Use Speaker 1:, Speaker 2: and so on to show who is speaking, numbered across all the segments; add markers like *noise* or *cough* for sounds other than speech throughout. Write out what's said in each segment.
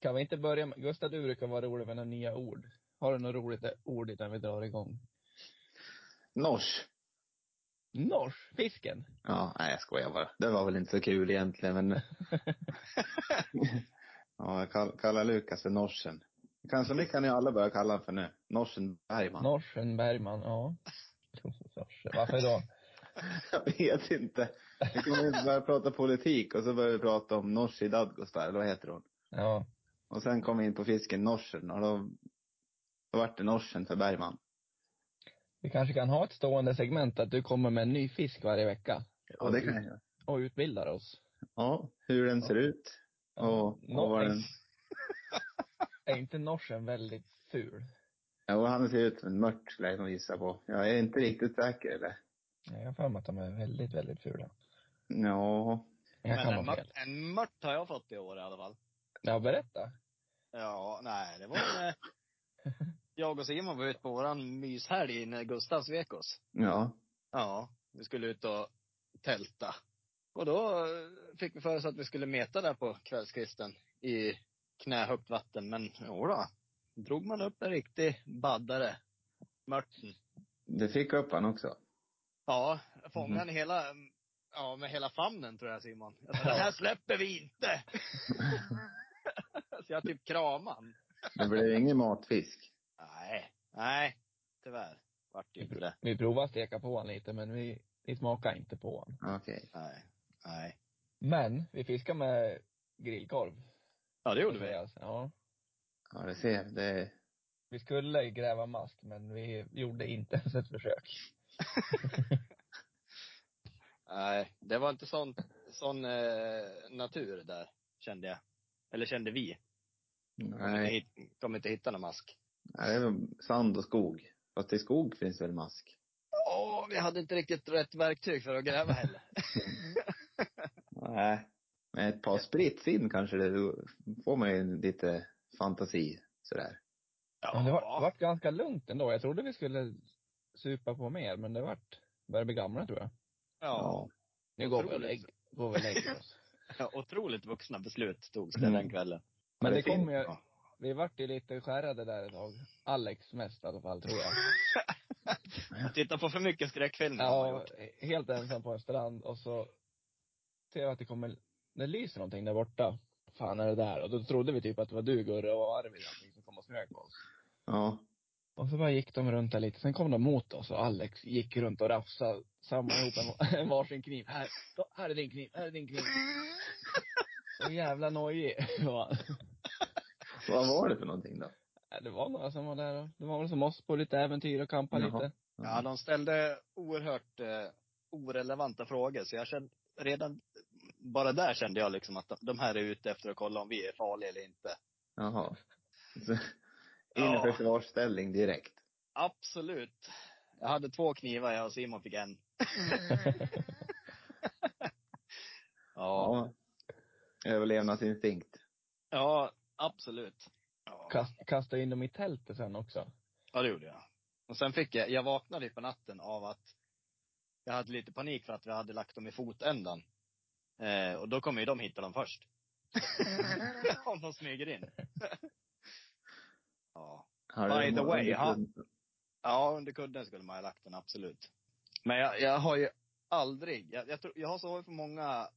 Speaker 1: Kan vi inte börja med, Gustav du brukar vara rolig med några nya ord. Har du något roligt ord innan vi drar igång?
Speaker 2: Nors.
Speaker 1: Nors, fisken.
Speaker 2: Ja, nej jag skojar bara. Det var väl inte så kul egentligen men. ja, jag kall- kallar Lukas för norsen. Kanske det kan ni alla börja kalla honom för nu. Norsen Bergman.
Speaker 1: Norsen Bergman, ja. Norsen, Varför då?
Speaker 2: Jag vet inte. Vi kommer inte börja prata politik och så börjar vi prata om Nooshi Dadgostar, eller vad heter hon?
Speaker 1: Ja.
Speaker 2: Och sen kom vi in på fisken norsen och då, då vart det norsen för Bergman.
Speaker 1: Vi kanske kan ha ett stående segment att du kommer med en ny fisk varje vecka
Speaker 2: Ja, det kan jag göra.
Speaker 1: och utbildar oss.
Speaker 2: Ja, hur den ser ut. Och, och
Speaker 1: Nor-
Speaker 2: vad den,
Speaker 1: *laughs* Är inte norsen väldigt ful?
Speaker 2: ja, och han ser ut som en mört skulle jag nog gissa på. Jag är inte riktigt säker eller?
Speaker 1: Nej, Jag har för mig att de är väldigt, väldigt fula.
Speaker 2: Ja.
Speaker 1: Jag
Speaker 3: Men en,
Speaker 1: kan vara fel.
Speaker 3: mört, en mört har jag fått i år i alla fall.
Speaker 1: Ja, berätta.
Speaker 3: Ja, nej, det var eh, Jag och Simon var ute på våran myshelg när Gustav svek oss.
Speaker 2: Ja.
Speaker 3: Ja, vi skulle ut och tälta. Och då eh, fick vi för oss att vi skulle meta där på kvällskvisten i knähögt vatten. Men jodå, drog man upp en riktig baddare. Mörten.
Speaker 2: Du fick upp han
Speaker 3: *laughs*
Speaker 2: också.
Speaker 3: Ja, jag fångade mm. hela, ja med hela famnen tror jag Simon. Jag sa, det här släpper vi inte! Så jag typ kramade han.
Speaker 2: Det blev ingen matfisk.
Speaker 3: Nej, nej. Tyvärr vart det inte det.
Speaker 1: Vi provar att steka på han lite, men vi, vi smakar inte på han.
Speaker 2: Okej.
Speaker 3: Nej, nej.
Speaker 1: Men vi fiskar med grillkorv.
Speaker 3: Ja, det gjorde vi.
Speaker 1: Andreas. Ja.
Speaker 2: Ja, du ser. Det,
Speaker 1: Vi skulle gräva mask, men vi gjorde inte ens ett försök.
Speaker 3: Nej, det var inte sån, sån eh, natur där, kände jag. Eller kände vi.
Speaker 2: nej.
Speaker 3: Vi kommer inte hitta någon mask.
Speaker 2: Nej, det är väl sand och skog. Fast i skog finns väl mask?
Speaker 3: Åh, vi hade inte riktigt rätt verktyg för att gräva heller.
Speaker 2: Nej. Men ett par spritsinn kanske det, då får man ju lite fantasi sådär.
Speaker 1: Men det var, vart ganska lugnt ändå. Jag trodde vi skulle supa på mer, men det vart, började bli gamla tror jag.
Speaker 3: ja.
Speaker 1: Nu går vi och
Speaker 3: Otroligt.
Speaker 1: lägger, går vi och lägger oss.
Speaker 3: ja. Otroligt vuxna beslut togs det
Speaker 2: Mm.
Speaker 3: den kvällen.
Speaker 1: Men
Speaker 2: Ja,
Speaker 1: det
Speaker 2: är fint.
Speaker 1: kommer ju,
Speaker 2: Ja.
Speaker 1: vi vart ju lite skärrade där ett tag. Alex mest i alla fall tror jag.
Speaker 3: Jag tittar på för mycket skräckfilmer. har jag
Speaker 1: Ja,
Speaker 3: gjort.
Speaker 1: helt ensam på en strand och så ser jag att det kommer, det lyser någonting där borta. Fan är det där? Och då trodde vi typ att det var du Gurra och Arvid någonting som liksom kom och smög på oss.
Speaker 2: Ja.
Speaker 1: Och så bara gick de runt där lite, sen kom de mot oss och Alex gick runt och rafsade samman ihop en, *laughs* en varsin kniv. Här, då, här är din kniv, här är din kniv. Så jävla nojig *laughs* var han.
Speaker 2: Vad var det för någonting då?
Speaker 1: Ja, Det var några som var där och, det var väl som oss på lite äventyr och kampa
Speaker 2: Jaha.
Speaker 1: lite.
Speaker 2: Mm.
Speaker 3: Ja, de ställde oerhört eh, orelevanta frågor. Så jag kände, redan bara där kände jag liksom att de, de här är ute efter att kolla om vi är farliga eller inte.
Speaker 2: Jaha. Så, in i
Speaker 3: Ja.
Speaker 2: försvarsställning direkt.
Speaker 3: Absolut. Jag hade två knivar, jag och Simon fick en. *laughs* ja,
Speaker 2: Ja. Överlevnadsinstinkt.
Speaker 3: ja, absolut. Ja.
Speaker 1: Kast, kastade in dem i tältet sen också.
Speaker 3: ja, det gjorde jag. Och sen fick jag, jag vaknade ju på natten av att jag hade lite panik för att vi hade lagt dem i fotändan. Eh, och då kommer ju de hitta dem först. Om de smyger in. *laughs* ja.
Speaker 2: Har
Speaker 3: By
Speaker 2: du-
Speaker 3: the way, ja. Ja, under kudden skulle man ha lagt den, absolut. Men jag, jag har ju aldrig, jag, jag, tror, jag har sovit på många,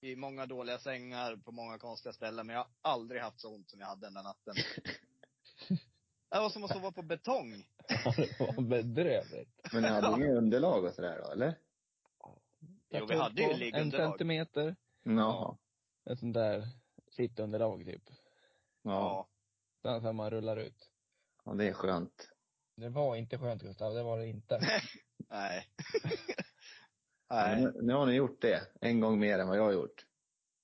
Speaker 3: i många dåliga sängar, på många konstiga ställen, men jag har aldrig haft så ont som jag hade den där natten. Det var som att sova på betong.
Speaker 1: *laughs* Ja, det var bedrövligt.
Speaker 2: Men ni hade
Speaker 3: *laughs*
Speaker 2: inget underlag och sådär då, eller?
Speaker 1: Jag
Speaker 3: Jo, vi
Speaker 1: tog
Speaker 3: hade ju
Speaker 1: på En
Speaker 3: liggunderlag.
Speaker 1: centimeter.
Speaker 2: Jaha.
Speaker 1: Ett sånt där sittunderlag typ.
Speaker 2: Ja.
Speaker 3: Ja.
Speaker 1: Sen så man rullar ut.
Speaker 2: ja. Det är skönt.
Speaker 1: Det var inte skönt Gustav, det var det
Speaker 3: *laughs*
Speaker 1: inte.
Speaker 3: Nej. *laughs* Nej.
Speaker 2: Nu, nu har ni gjort det. En gång mer än vad jag har gjort.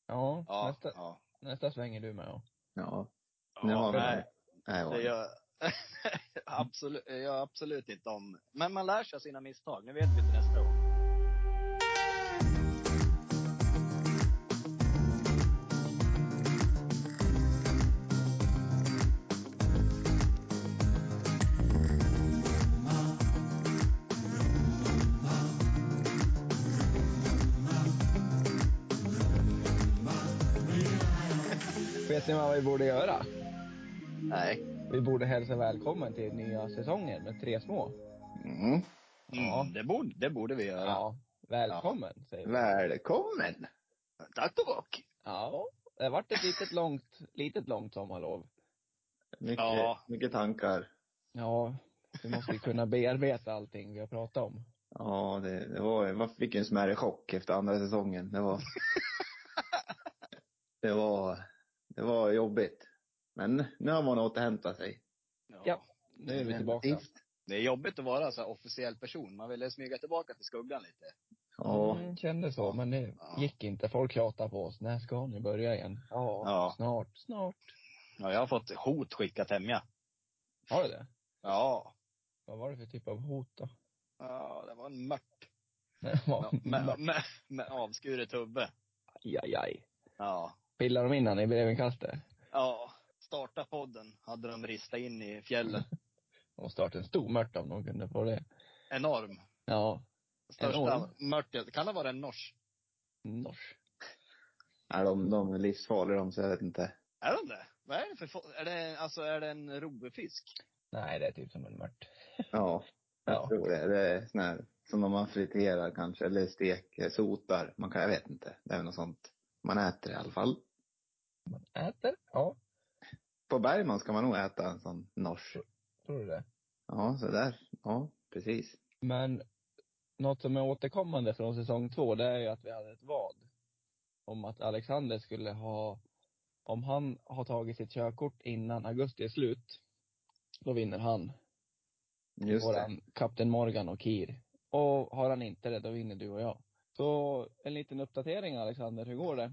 Speaker 1: Ja,
Speaker 3: Ja.
Speaker 1: nästa,
Speaker 3: Ja.
Speaker 1: nästa svänger du med. ja.
Speaker 2: Ja. Nu
Speaker 3: ja
Speaker 2: har vi
Speaker 3: nej.
Speaker 2: det. Nej,
Speaker 3: Det
Speaker 2: det gör...
Speaker 3: gör, *laughs* absolut, jag gör absolut inte om. Men man lär sig av sina misstag. Nu vet vi till nästa år.
Speaker 1: Vi Vet ni vad vi borde göra?
Speaker 3: Nej.
Speaker 1: Vi borde hälsa välkommen till nya säsongen med tre små.
Speaker 2: Mm.
Speaker 1: Ja.
Speaker 3: Mm, det, borde, det borde vi göra.
Speaker 1: Ja. Välkommen, säger vi.
Speaker 2: Välkommen!
Speaker 3: Tack och bock.
Speaker 1: Ja. Det har varit ett litet långt, litet långt sommarlov.
Speaker 2: Mycket,
Speaker 3: Ja.
Speaker 2: mycket tankar.
Speaker 1: Ja. Vi måste ju kunna bearbeta allting vi har pratat om.
Speaker 2: Ja, det, det var, jag fick en smärre chock efter andra säsongen. Det var, det var, det var jobbigt. Men nu har man återhämtat sig.
Speaker 1: Ja. Nu är vi tillbaka.
Speaker 2: Definitivt.
Speaker 3: Det är jobbigt att vara så här officiell person. Man ville smyga tillbaka till skuggan lite.
Speaker 2: Ja.
Speaker 1: Mm, kände så, men det
Speaker 3: Ja.
Speaker 1: gick inte. Folk tjatade på oss. När ska ni börja igen? Ja,
Speaker 3: Ja.
Speaker 1: snart, snart.
Speaker 3: Ja, jag har fått hot skickat hem, ja.
Speaker 1: Har du det?
Speaker 3: Ja.
Speaker 1: Vad var det för typ av hot då? *laughs*
Speaker 3: Ja, det var en mört.
Speaker 1: Det var-
Speaker 3: Med, med, med avskuret huvud.
Speaker 1: Aj, aj, aj.
Speaker 3: Ja.
Speaker 1: Pillar de in han i brevinkastet?
Speaker 3: Ja. Starta podden hade de ristat in i fjällen.
Speaker 1: De startade en stor mört om de kunde få det.
Speaker 3: Enorm.
Speaker 1: Ja.
Speaker 3: Största
Speaker 1: Enorm.
Speaker 3: mörtet. Kan det vara en norsk?
Speaker 1: Nors.
Speaker 2: Nej, de, de är livsfarliga de, så jag vet inte.
Speaker 3: Är de det? Vad är det för fo- är det, alltså är det en rovfisk?
Speaker 1: Nej, det är typ som en mört.
Speaker 2: Ja, jag
Speaker 1: Ja.
Speaker 2: tror det. Det är sån här, som när man friterar kanske, eller steker, sotar. Man kan, jag vet inte. Det är väl något sånt man äter i alla fall.
Speaker 1: Äter? Ja.
Speaker 2: På Bergman ska man nog äta en sån nors.
Speaker 1: Tror du det?
Speaker 2: Ja, så där. Ja, precis.
Speaker 1: Men något som är återkommande från säsong två, det är ju att vi hade ett vad. Om att Alexander skulle ha, om han har tagit sitt körkort innan augusti är slut, då vinner han.
Speaker 2: Just det.
Speaker 1: våran Kapten Morgan och Kir. Och har han inte det, då vinner du och jag. Så en liten uppdatering Alexander, hur går
Speaker 3: *laughs*
Speaker 1: det?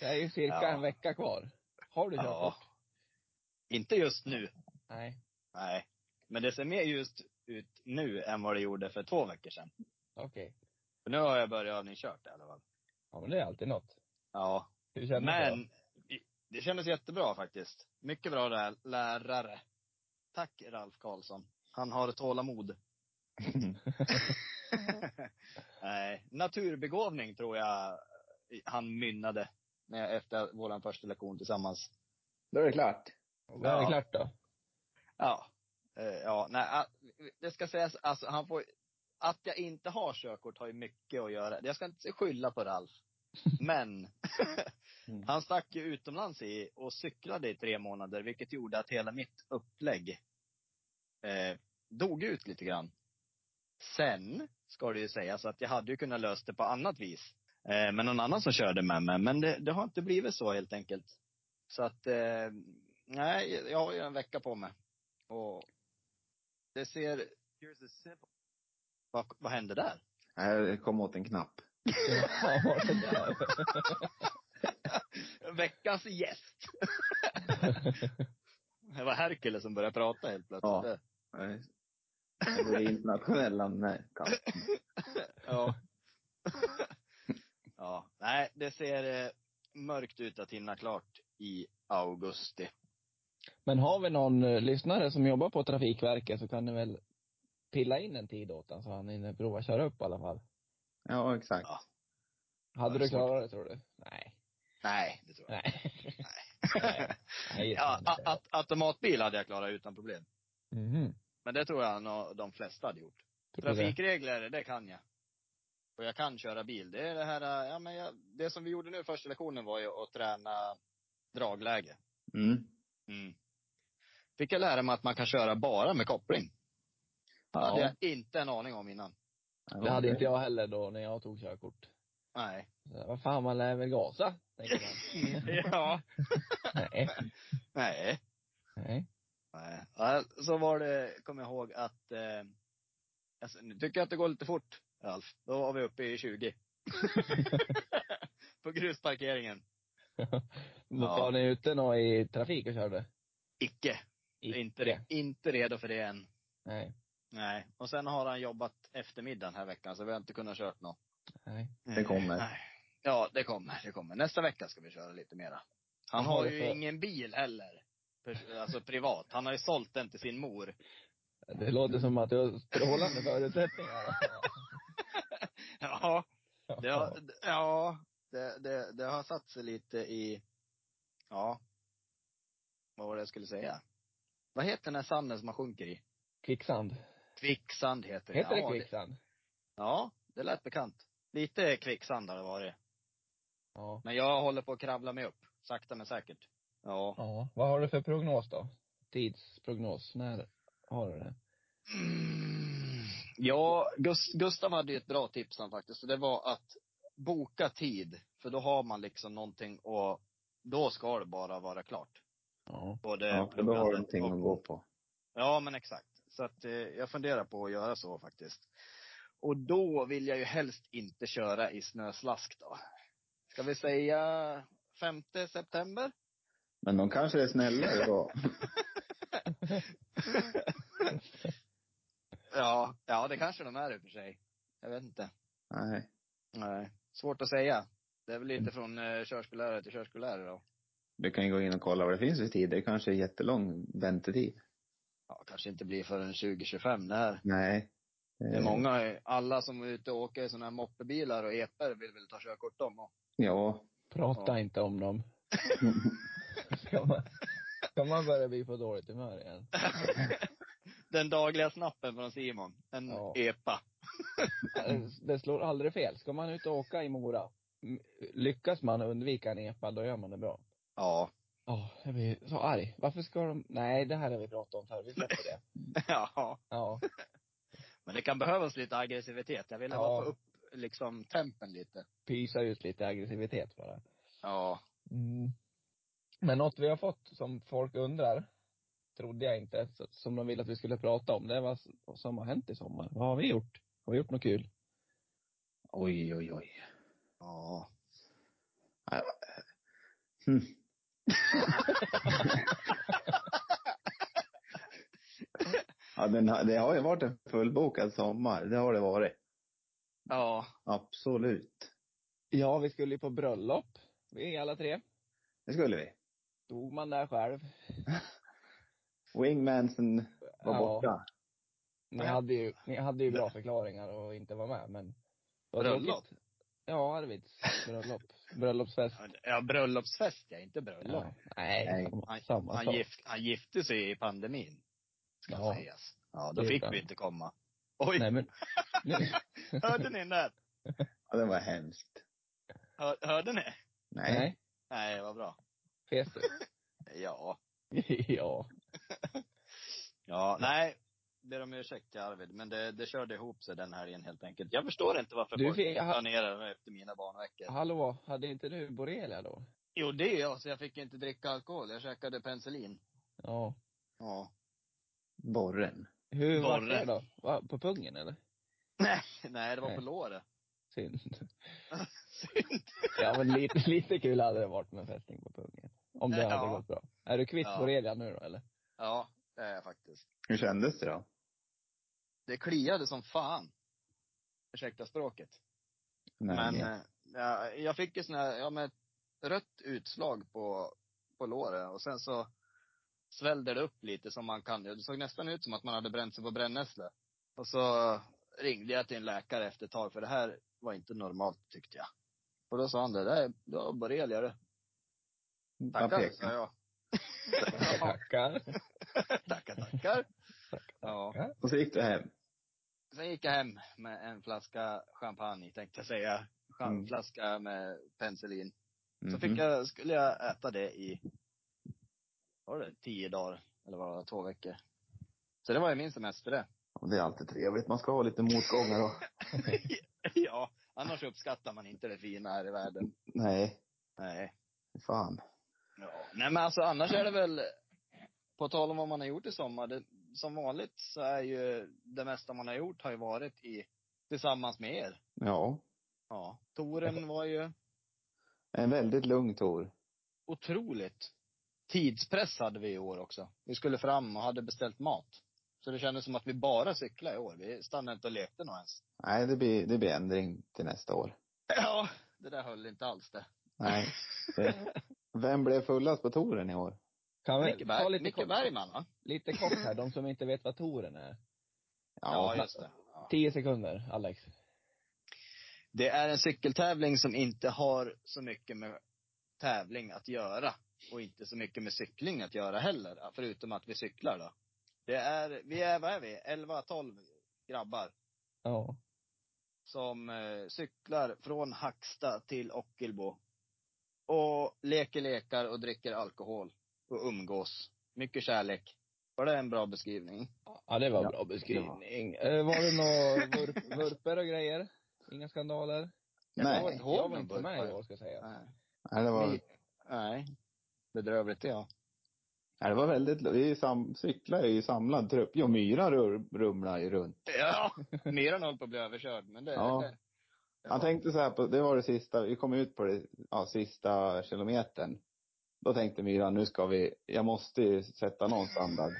Speaker 1: Det är ju cirka
Speaker 3: Ja.
Speaker 1: en vecka kvar. Har du körkort?
Speaker 3: Ja. Inte just nu.
Speaker 1: Nej.
Speaker 3: Nej. Men det ser mer just ut nu än vad det gjorde för två veckor sedan.
Speaker 1: Okej.
Speaker 3: För nu har jag börjat övningskört i alla fall.
Speaker 1: Ja men det är alltid något.
Speaker 3: Ja.
Speaker 1: Hur känner du?
Speaker 3: Men det kändes jättebra faktiskt. Mycket bra där, lärare. Tack Ralf Karlsson. Han
Speaker 1: *laughs*
Speaker 3: har tålamod. Nej, naturbegåvning tror jag han mynnade när- efter vår första lektion tillsammans.
Speaker 2: Då är det klart.
Speaker 1: Då är det
Speaker 3: ja.
Speaker 1: klart då. *laughs*
Speaker 3: Ja. Eh, Ja, nej, ah, det ska sägas, alltså han får, att jag inte har körkort har ju mycket att göra. Jag ska inte skylla på Ralf. Men,
Speaker 2: Mm.
Speaker 3: han stack ju utomlands i och cyklade i tre månader, vilket gjorde att hela mitt upplägg eh, dog ut lite grann. Sen, ska det ju sägas, att jag hade ju kunnat lösa det på annat vis. Eh, men någon annan som körde med mig. Men det, det har inte blivit så helt enkelt. Så att, eh, nej, jag har ju en vecka på mig. Och det ser... Vad, vad hände där?
Speaker 2: Jag kom åt en knapp.
Speaker 1: Fan, vad var det där?
Speaker 3: Veckans gäst!
Speaker 1: *laughs*
Speaker 3: det var Herkele som började prata helt plötsligt.
Speaker 2: Nej. Det var det internationella med kaffe.
Speaker 3: Ja. *laughs* ja. Nej, det ser eh, mörkt ut att hinna klart i augusti.
Speaker 1: Men har vi någon eh, lyssnare som jobbar på Trafikverket så kan ni väl pilla in en tid åt honom så han hinner prova köra upp i alla fall.
Speaker 2: Ja, exakt.
Speaker 1: Hade
Speaker 3: det
Speaker 1: du
Speaker 3: är svårt.
Speaker 1: klarat det tror du? Nej.
Speaker 3: Nej, det tror jag
Speaker 1: Nej. *laughs* Nej. Nej, just
Speaker 3: *laughs* ja,
Speaker 1: det.
Speaker 3: a- a- Automatbil hade jag klarat utan problem.
Speaker 1: Mhm.
Speaker 3: Men det tror jag nog de flesta hade gjort.
Speaker 1: Tror du det?
Speaker 3: Trafikregler, det kan jag. Och jag kan köra bil. Det är det här, eh, ja men jag, det som vi gjorde nu första lektionen var ju att träna dragläge.
Speaker 2: Mm.
Speaker 3: Mm. Fick jag lära mig att man kan köra bara med koppling. Det hade
Speaker 1: Ja.
Speaker 3: jag inte en aning om innan.
Speaker 1: Det hade inte jag heller då när jag tog körkort.
Speaker 3: Nej.
Speaker 1: Så, vad fan, man lär väl gasa, tänker man.
Speaker 3: *laughs* ja.
Speaker 1: Nej.
Speaker 3: Nej.
Speaker 1: Nej.
Speaker 3: Nej. Ja, Så var det, kommer jag ihåg att, eh, alltså, nu tycker jag att det går lite fort, Ralf. Då var vi uppe
Speaker 1: *laughs*
Speaker 3: i 20. På grusparkeringen.
Speaker 1: Då
Speaker 3: Ja.
Speaker 1: var ni ute nå i trafik och körde?
Speaker 3: Icke.
Speaker 1: Icke.
Speaker 3: Inte, re- inte redo för det än.
Speaker 1: Nej.
Speaker 3: Nej. Och sen har han jobbat eftermiddagen här veckan, så vi har inte kunnat kört något.
Speaker 1: Nej.
Speaker 2: Det kommer.
Speaker 3: Nej. Ja, det kommer. Det kommer. Nästa vecka ska vi köra lite mera. Han
Speaker 1: Vad har
Speaker 3: har
Speaker 1: du
Speaker 3: ju
Speaker 1: för-
Speaker 3: ingen bil heller. Pers- Alltså privat. Han har ju sålt den till sin mor.
Speaker 1: Det låter som att du har strålande förutsättningar.
Speaker 3: *laughs* Ja. Det har, ja, det, det, det har satt sig lite i Ja. Vad var det jag skulle säga? Vad heter den här sanden som man sjunker i?
Speaker 1: Kvicksand.
Speaker 3: Kvicksand heter det.
Speaker 1: Heter det
Speaker 3: ja,
Speaker 1: kvicksand?
Speaker 3: Ja, det lät bekant. Lite kvicksand har det varit.
Speaker 1: Ja.
Speaker 3: Men jag håller på att kravla mig upp. Sakta men säkert. Ja.
Speaker 1: Ja. Vad har du för prognos då? Tidsprognos? När har du det?
Speaker 3: Ja, Gus- Gustav hade ju ett bra tips han faktiskt. Och det var att boka tid. För då har man liksom någonting och då ska det bara vara klart.
Speaker 1: Ja.
Speaker 3: Både
Speaker 2: Ja, för då har du
Speaker 3: pluggandet
Speaker 2: någonting att gå på.
Speaker 3: Ja, men exakt. Så att eh, jag funderar på att göra så faktiskt. Och då vill jag ju helst inte köra i snöslask då. Ska vi säga 5 september?
Speaker 2: Men de kanske är snällare då.
Speaker 3: ja, ja det kanske de är i och för sig. Jag vet inte.
Speaker 2: Nej.
Speaker 3: Nej, svårt att säga. Det är väl
Speaker 1: Mm.
Speaker 3: lite från eh, körskollärare till körskollärare då.
Speaker 2: Du kan ju gå in och kolla vad det finns för tid. Det kanske är jättelång väntetid.
Speaker 3: Ja, kanske inte blir förrän 2025 det här.
Speaker 2: Nej.
Speaker 1: Eh.
Speaker 2: eh,
Speaker 3: Det är många, alla som är ute och åker i sådana här moppebilar och epor vill väl ta körkort om. Och,
Speaker 2: Ja.
Speaker 3: *laughs*
Speaker 1: Prata
Speaker 3: Ja.
Speaker 1: inte om dem. *laughs* Ska man, ska man börja bli på dåligt humör igen?
Speaker 3: den dagliga snappen från Simon. En
Speaker 1: Ja.
Speaker 3: epa.
Speaker 1: Eh, Det slår aldrig fel. Ska man ut och åka i Mora, m- lyckas man undvika en epa, då gör man det bra.
Speaker 3: Ja. *laughs*
Speaker 1: Ja, jag blir så arg. Varför ska de, nej det här har vi pratat om förr, vi släpper det.
Speaker 3: ja.
Speaker 1: Ja.
Speaker 3: Men det kan behövas lite aggressivitet. Jag vill
Speaker 1: Ja.
Speaker 3: bara få upp liksom tempen lite.
Speaker 1: Pysa ut lite aggressivitet bara.
Speaker 3: Ja.
Speaker 1: Mm. Men något vi har fått som folk undrar, trodde jag inte, så- som de ville att vi skulle prata om, det var s- vad som har hänt i sommar. Vad har vi gjort? Har vi gjort något kul?
Speaker 2: Oj, oj, oj.
Speaker 3: Ja.
Speaker 2: Hm. *laughs* ja, den har, det har ju varit en fullbokad sommar. Det har det varit.
Speaker 3: Ja.
Speaker 2: Absolut.
Speaker 1: Ja, vi skulle ju på bröllop, vi alla tre.
Speaker 2: Det skulle vi.
Speaker 1: Stod man där själv.
Speaker 2: Wingmansen var
Speaker 1: Ja.
Speaker 2: borta.
Speaker 1: Ni hade ju, ni hade ju bra förklaringar och inte var med, men. det var
Speaker 3: Bröllop?
Speaker 1: tråkigt. Ja, Arvids bröllop. *laughs* Bröllopsfest.
Speaker 3: Ja, bröllopsfest ja, inte bröllop.
Speaker 1: Ja. Nej,
Speaker 2: Nej,
Speaker 1: samma,
Speaker 3: Han,
Speaker 1: samma
Speaker 3: han,
Speaker 1: sak.
Speaker 3: gift, han gifte sig i pandemin. Ska
Speaker 1: Ja.
Speaker 3: sägas. Ja, då
Speaker 1: Det
Speaker 3: fick
Speaker 1: gjorde
Speaker 3: vi
Speaker 1: han.
Speaker 3: inte komma. Oj,
Speaker 1: Nej
Speaker 3: *laughs*
Speaker 1: men, nu,
Speaker 3: hörde ni den där?
Speaker 2: Ja, det var hemskt.
Speaker 3: Hör, hörde ni?
Speaker 2: Nej.
Speaker 1: nej.
Speaker 3: Nej, vad bra.
Speaker 1: Fes du?
Speaker 3: Ja.
Speaker 1: *laughs* Ja.
Speaker 3: Ja, nej. Ber om ursäkt till Arvid, men det, det körde ihop sig den helgen helt enkelt. Jag förstår inte varför
Speaker 1: Du
Speaker 3: folk
Speaker 1: fick-
Speaker 3: planerar efter mina barnveckor.
Speaker 1: Hallå, hade inte du borrelia då?
Speaker 3: Jo, det är jag, så jag fick inte dricka alkohol. Jag käkade penicillin.
Speaker 1: Ja.
Speaker 3: Ja.
Speaker 2: Borren.
Speaker 1: Hur var
Speaker 3: Borre.
Speaker 1: det då? Va, på pungen eller?
Speaker 3: Nej, *laughs* nej, det var på
Speaker 1: Nej.
Speaker 3: *laughs* låret.
Speaker 1: Synd.
Speaker 3: Synd.
Speaker 1: Ja men lite, lite kul hade det varit med en fästing på pungen. Om det hade
Speaker 3: Ja.
Speaker 1: gått bra. Är du kvitt
Speaker 3: Ja.
Speaker 1: borrelia nu då eller?
Speaker 3: Ja, det är jag faktiskt.
Speaker 2: Hur kändes det då?
Speaker 3: Det kliade som fan. Ursäkta språket.
Speaker 2: Nej,
Speaker 3: men
Speaker 2: men,
Speaker 3: eh, ja, jag fick ju sån här, ja men rött utslag på, på låret och sen så svällde det upp lite som man kan. Det såg nästan ut som att man hade bränt sig på brännässlor. Och så ringde jag till en läkare efter ett tag för det här var inte normalt tyckte jag. Och då sa han det, där, det var borrelia det. Tackar, sa jag. *laughs* *laughs* Ja,
Speaker 1: Tackar.
Speaker 3: tackar, tackar. Ja.
Speaker 2: Och så gick du hem.
Speaker 3: Sen gick jag hem med en flaska champagne tänkte jag säga. En
Speaker 2: Mm.
Speaker 3: flaska med penicillin. Så
Speaker 2: Mhm.
Speaker 3: fick jag, skulle jag äta det i, vad var det, tio dagar? Eller var det, två veckor? Så det var ju min semester det.
Speaker 2: Ja, Det är alltid trevligt. Man ska ha lite motgångar och...
Speaker 3: *laughs* ja, annars uppskattar man inte det fina här i världen.
Speaker 2: Nej.
Speaker 3: Nej.
Speaker 2: Fan.
Speaker 3: Ja. Nej men alltså annars är det väl, på tal om vad man har gjort i sommar, det, som vanligt så är ju det mesta man har gjort har ju varit i, tillsammans med er.
Speaker 2: Ja.
Speaker 3: Ja. *laughs* Toren var ju
Speaker 2: En väldigt lugn Tor.
Speaker 3: otroligt. Tidspress hade vi i år också. Vi skulle fram och hade beställt mat. Så det kändes som att vi bara cyklade i år. Vi stannade inte och lekte nog ens. *clears throat*
Speaker 2: Nej, det blir, det blir ändring till nästa år.
Speaker 3: Ja, det där höll inte alls det.
Speaker 2: Nej. Det- Vem blev fullast på touren i år?
Speaker 1: Kan vi
Speaker 3: Micke,
Speaker 1: ta
Speaker 3: Berg,
Speaker 1: lite
Speaker 3: Micke
Speaker 1: kort,
Speaker 3: Bergman va?
Speaker 1: lite kort här, de som inte vet vad toren är.
Speaker 3: Ja, just det. Ja.
Speaker 1: Tio sekunder, Alex.
Speaker 3: Det är en cykeltävling som inte har så mycket med tävling att göra. och inte så mycket med cykling att göra heller, förutom att vi cyklar då. Det är, vi är, vad är vi, 11, 12 grabbar
Speaker 1: Ja.
Speaker 3: som eh, cyklar från Hacksta till Ockelbo. Och leker lekar och dricker alkohol och umgås. Mycket kärlek. Var det en bra beskrivning?
Speaker 1: Ja, det var
Speaker 2: Ja,
Speaker 1: bra beskrivning. Eh, var det några vurp, vurper och grejer? Inga skandaler? Jag var,
Speaker 2: Nej.
Speaker 3: inte ihåg
Speaker 1: jag var
Speaker 3: någon
Speaker 1: inte med
Speaker 3: vurpare.
Speaker 1: i år, ska jag säga.
Speaker 3: Nej.
Speaker 2: Nej, det var,
Speaker 1: Ni-
Speaker 3: Nej. Bedrövligt det ja.
Speaker 2: nej, det var väldigt, vi är ju sam, cyklar är ju samlad trupp. Jo, Myra rum, rumlar ju runt.
Speaker 3: Ja, mer än höll på att bli överkörd. Men det,
Speaker 2: Ja.
Speaker 3: det
Speaker 2: Han tänkte så här på, det var det sista, vi kom ut på det, ja, sista kilometern. Då tänkte Myra, nu ska vi, jag måste ju sätta någon *laughs* standard.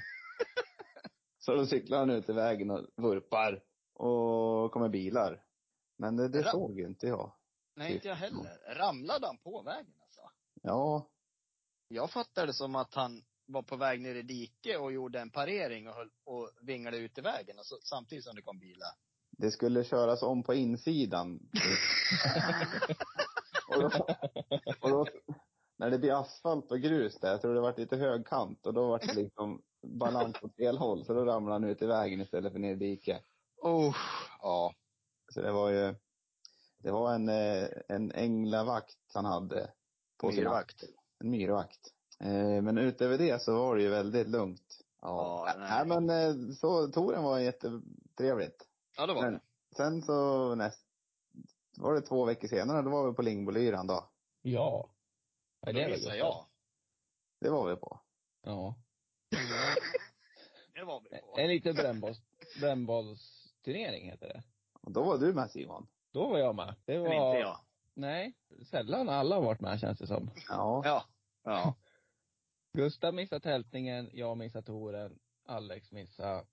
Speaker 2: så då cyklar han ut i vägen och vurpar. Och kommer bilar. Men det, det
Speaker 3: Ja.
Speaker 2: såg ju inte jag.
Speaker 3: Nej, inte jag heller. Ramlade han på vägen alltså?
Speaker 2: Ja,
Speaker 3: Jag fattade det som att han var på väg ner i dike och gjorde en parering och, höll, och vinglade ut i vägen alltså, samtidigt som det kom bilar.
Speaker 2: det skulle köras om på
Speaker 3: *laughs*
Speaker 2: insidan. och då, och då, när det blir asfalt och grus där, jag tror det vart lite högkant och då vart det liksom balans åt fel håll. Så då ramlade han ut i vägen istället för ner i diket.
Speaker 3: Oh, ja.
Speaker 2: Så det var ju, det var en, eh, en änglavakt han hade. På sin-
Speaker 3: Myrvakt.
Speaker 2: En myrvakt. Eh, Men utöver det så var det ju väldigt lugnt.
Speaker 3: Ja, nej.
Speaker 2: nej. men eh, så, touren var jättetrevligt.
Speaker 3: Ja, det var
Speaker 2: Men
Speaker 3: det.
Speaker 2: sen så näst, var det två veckor senare, då var vi på Lingbolyran då.
Speaker 1: Ja. Ja,
Speaker 3: Då
Speaker 1: är väl
Speaker 3: gissar
Speaker 1: gott.
Speaker 3: jag.
Speaker 2: Det var vi på.
Speaker 1: Ja.
Speaker 3: Det var vi på.
Speaker 1: En liten brännbolls, brännbollsturnering heter det.
Speaker 2: Och då var du med Simon.
Speaker 1: Då var jag med. Det var...
Speaker 3: Men inte jag.
Speaker 1: Nej. Sällan alla har varit med känns det som.
Speaker 2: Ja.
Speaker 3: Ja. Ja.
Speaker 1: Gustav missade tältningen, jag missade touren, Alex missade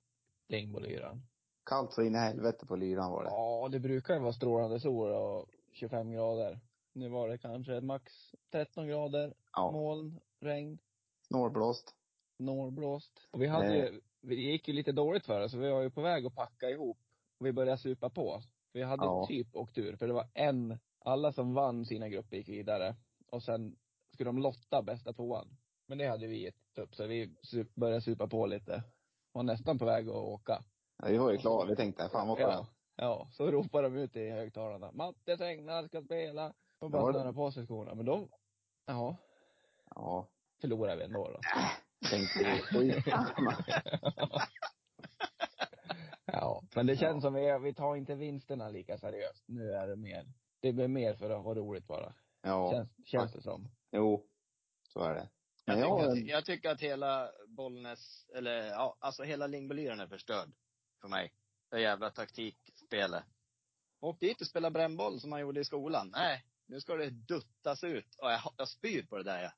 Speaker 1: Lingbolyran.
Speaker 2: Kallt så in i helvete på lyran var det.
Speaker 1: Ja, det brukar ju vara strålande sol och 25 grader. Nu var det kanske max 13 grader,
Speaker 2: Ja.
Speaker 1: moln, regn,
Speaker 2: Snålblåst.
Speaker 1: norrblåst. Och vi hade ju, det gick ju lite dåligt för oss, så vi var ju på väg att packa ihop. Och vi började supa på. Vi hade
Speaker 2: Ja.
Speaker 1: typ åkt ur, för det var en, alla som vann sina grupper gick vidare. Och sen skulle de lotta bästa tvåan. Men det hade vi gett upp, så vi su- började supa på lite. Var nästan på väg att åka.
Speaker 2: Ja, vi var ju klara. Vi tänkte, fan vad skönt.
Speaker 1: Ja. Ja, så ropar de ut i högtalarna. Mattes Engnar ska spela. Och
Speaker 2: Ja,
Speaker 1: bara
Speaker 2: det-
Speaker 1: snörar på sig skorna. Men de, ja,
Speaker 2: Ja.
Speaker 1: förlorar vi ändå då.
Speaker 2: Tänkte vi, skitsamma.
Speaker 1: Ja. Men det känns som vi, vi tar inte vinsterna lika seriöst. Nu är det mer, det blir mer för att vara roligt bara.
Speaker 2: Ja.
Speaker 1: Känns, känns det som.
Speaker 2: Jo. Så är det.
Speaker 3: Jag
Speaker 2: Men jag,
Speaker 3: tycker,
Speaker 2: har
Speaker 3: att,
Speaker 2: en-
Speaker 3: jag tycker att hela Bollnäs, eller ja, alltså hela Lingbolyran är förstörd. För mig. Det jävla taktikspelet. Åk dit och spela brännboll som man gjorde i skolan. Nej, nu ska det duttas ut. Och jag, jag spyr på det där jag.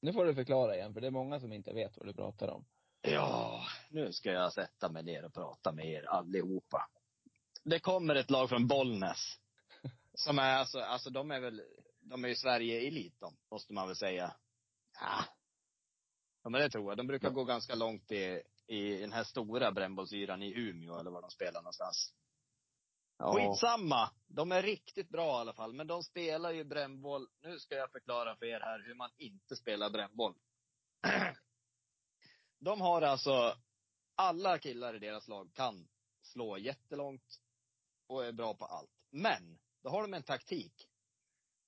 Speaker 1: Nu får du förklara igen, för det är många som inte vet vad du pratar om.
Speaker 3: Ja, nu ska jag sätta mig ner och prata med er allihopa. Det kommer ett lag från Bollnäs. Som är alltså, alltså de är väl, de är ju Sverige-elit de, måste man väl säga.
Speaker 2: ja.
Speaker 3: Ja men det tror jag. De brukar gå ganska långt i, i den här stora brännbollsyran i Umeå eller var de spelar någonstans.
Speaker 2: ja.
Speaker 3: Skitsamma! De är riktigt bra i alla fall. Men de spelar ju brännboll. Nu ska jag förklara för er här hur man inte spelar brännboll. *clears throat* De har alltså, alla killar i deras lag kan slå jättelångt och är bra på allt. Men, då har de en taktik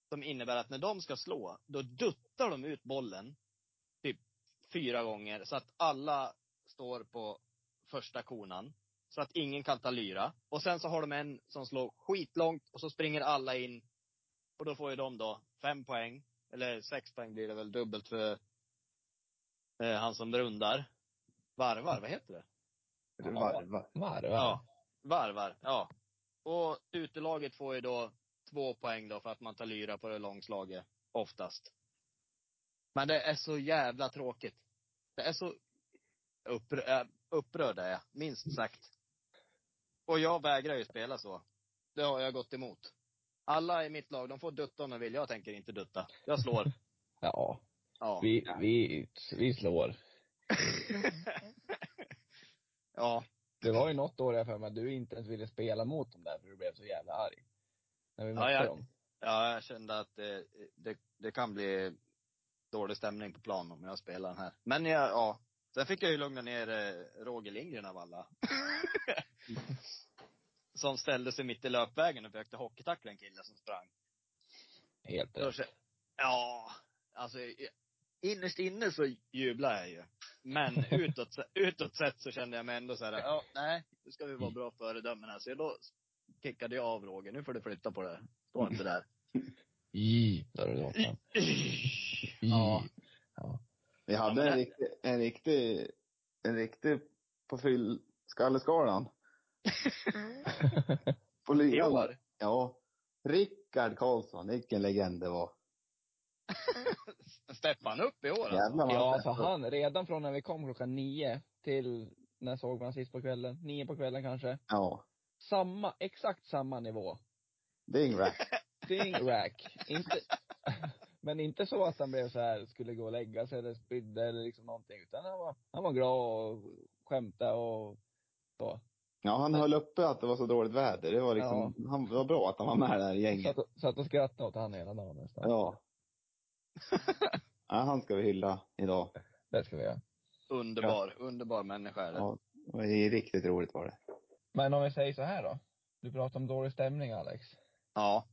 Speaker 3: som innebär att när de ska slå, då duttar de ut bollen typ fyra gånger så att alla står på första konan. Så att ingen kan ta lyra. Och sen så har de en som slår skitlångt och så springer alla in. Och då får ju de då fem poäng. Eller sex poäng blir det väl dubbelt för eh, han som rundar. Varvar, vad heter det?
Speaker 2: Det var- det var-
Speaker 1: Varva.
Speaker 3: Ja. Varvar, ja. Och utelaget får ju då två poäng då för att man tar lyra på det långslaget, oftast. Men det är så jävla tråkigt. Det är så upprö- äh, upprörd är jag, minst sagt. Och jag vägrar ju spela så. Det har jag gått emot. Alla i mitt lag, de får dutta om de vill. Jag tänker inte dutta. Jag slår.
Speaker 1: ja.
Speaker 3: Ja.
Speaker 1: Vi, vi, vi slår.
Speaker 3: *laughs* ja.
Speaker 1: Det var ju något år jag för mig att du inte ens ville spela mot dem där, för du blev så jävla arg. När vi mötte
Speaker 3: jag-
Speaker 1: dem.
Speaker 3: Ja, jag kände att eh, det, det kan bli dålig stämning på plan om jag spelar den här. Men jag, ja. Sen fick jag ju lugna ner eh, Roger Lindgren av alla. *laughs* som ställde sig mitt i löpvägen och försökte hockeytackla en kille som sprang.
Speaker 1: Helt
Speaker 3: Då
Speaker 1: rätt.
Speaker 3: kä- Ja, alltså i- innerst inne så jublar jag ju. Men utåt, se- utåt sett så kände jag mig ändå så här, ja, nej, nu ska vi vara bra föredömen här. Så då kickade jag av Roger, nu får du flytta på det. Stå inte där.
Speaker 1: I, där är låten. I.
Speaker 3: Ja.
Speaker 2: Vi
Speaker 3: Ja,
Speaker 2: hade
Speaker 3: men
Speaker 2: en
Speaker 3: det-
Speaker 2: riktig, en riktig, en riktig på fyllskalleskalan. på
Speaker 3: I
Speaker 2: Lyra.
Speaker 3: år.
Speaker 2: Ja. Rickard Karlsson, vilken legend det var.
Speaker 3: Steppar han upp i år alltså?
Speaker 2: Jävlar
Speaker 1: *laughs*
Speaker 2: vad
Speaker 1: Ja,
Speaker 2: han
Speaker 1: alltså han, redan från när vi kom klockan nio till, när såg man sist på kvällen? Nio på kvällen kanske.
Speaker 2: Ja.
Speaker 1: Samma, exakt samma nivå.
Speaker 2: Dingrat.
Speaker 1: Ding rack. Inte, *laughs* men inte så att han blev så här, skulle gå och lägga sig eller spydde eller liksom någonting. Utan han var, han var glad och skämtade och så.
Speaker 2: Ja, han höll uppe att det var så dåligt väder. Det var liksom, han, det var bra att han var med där i gänget.
Speaker 1: Satt, och- satt och skrattade åt han hela dagen nästan.
Speaker 2: Ja. ja. Han ska vi hylla idag.
Speaker 1: Det ska vi göra.
Speaker 3: Underbar, underbar människa är det.
Speaker 2: Ja. Det är riktigt roligt var det.
Speaker 1: Men om vi säger så här då. Du pratar om dålig stämning Alex.
Speaker 3: Ja.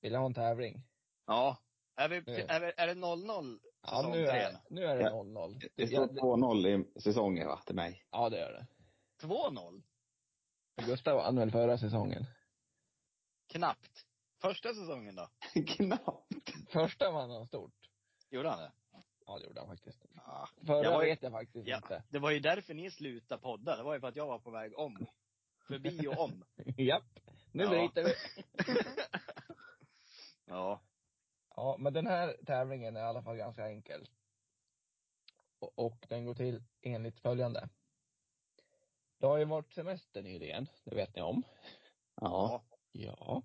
Speaker 1: Vill jag ha en tävling?
Speaker 3: ja. Är, vi,
Speaker 1: Det-
Speaker 3: är, vi, är det 0-0
Speaker 1: Ja,
Speaker 3: säsong
Speaker 1: nu är,
Speaker 3: tre?
Speaker 1: nu är det
Speaker 2: Ja.
Speaker 1: 0-0.
Speaker 2: Det
Speaker 1: Ja,
Speaker 2: står
Speaker 1: det-
Speaker 2: 2-0 i säsongen va, till mig. *laughs*
Speaker 1: Ja, det gör det.
Speaker 3: 2-0?
Speaker 1: Gustav vann väl förra säsongen?
Speaker 3: Knappt. Första säsongen då?
Speaker 2: Knappt.
Speaker 1: Första vann han stort.
Speaker 3: Gjorde han det?
Speaker 1: Ja, det gjorde han faktiskt.
Speaker 3: Ja.
Speaker 1: Förra
Speaker 3: Jag var ju-
Speaker 1: vet jag faktiskt
Speaker 3: Ja.
Speaker 1: inte. *laughs*
Speaker 3: Det var ju därför ni slutade podda. Det var ju för att jag var på väg om. Förbi och om.
Speaker 1: Japp. Nu
Speaker 3: Ja.
Speaker 1: bryter vi.
Speaker 3: *laughs* Ja.
Speaker 1: Ja, men den här tävlingen är i alla fall ganska enkel. Och, och den går till enligt följande. Det har ju varit semester nyligen, det vet ni om.
Speaker 2: Ja.
Speaker 1: Ja.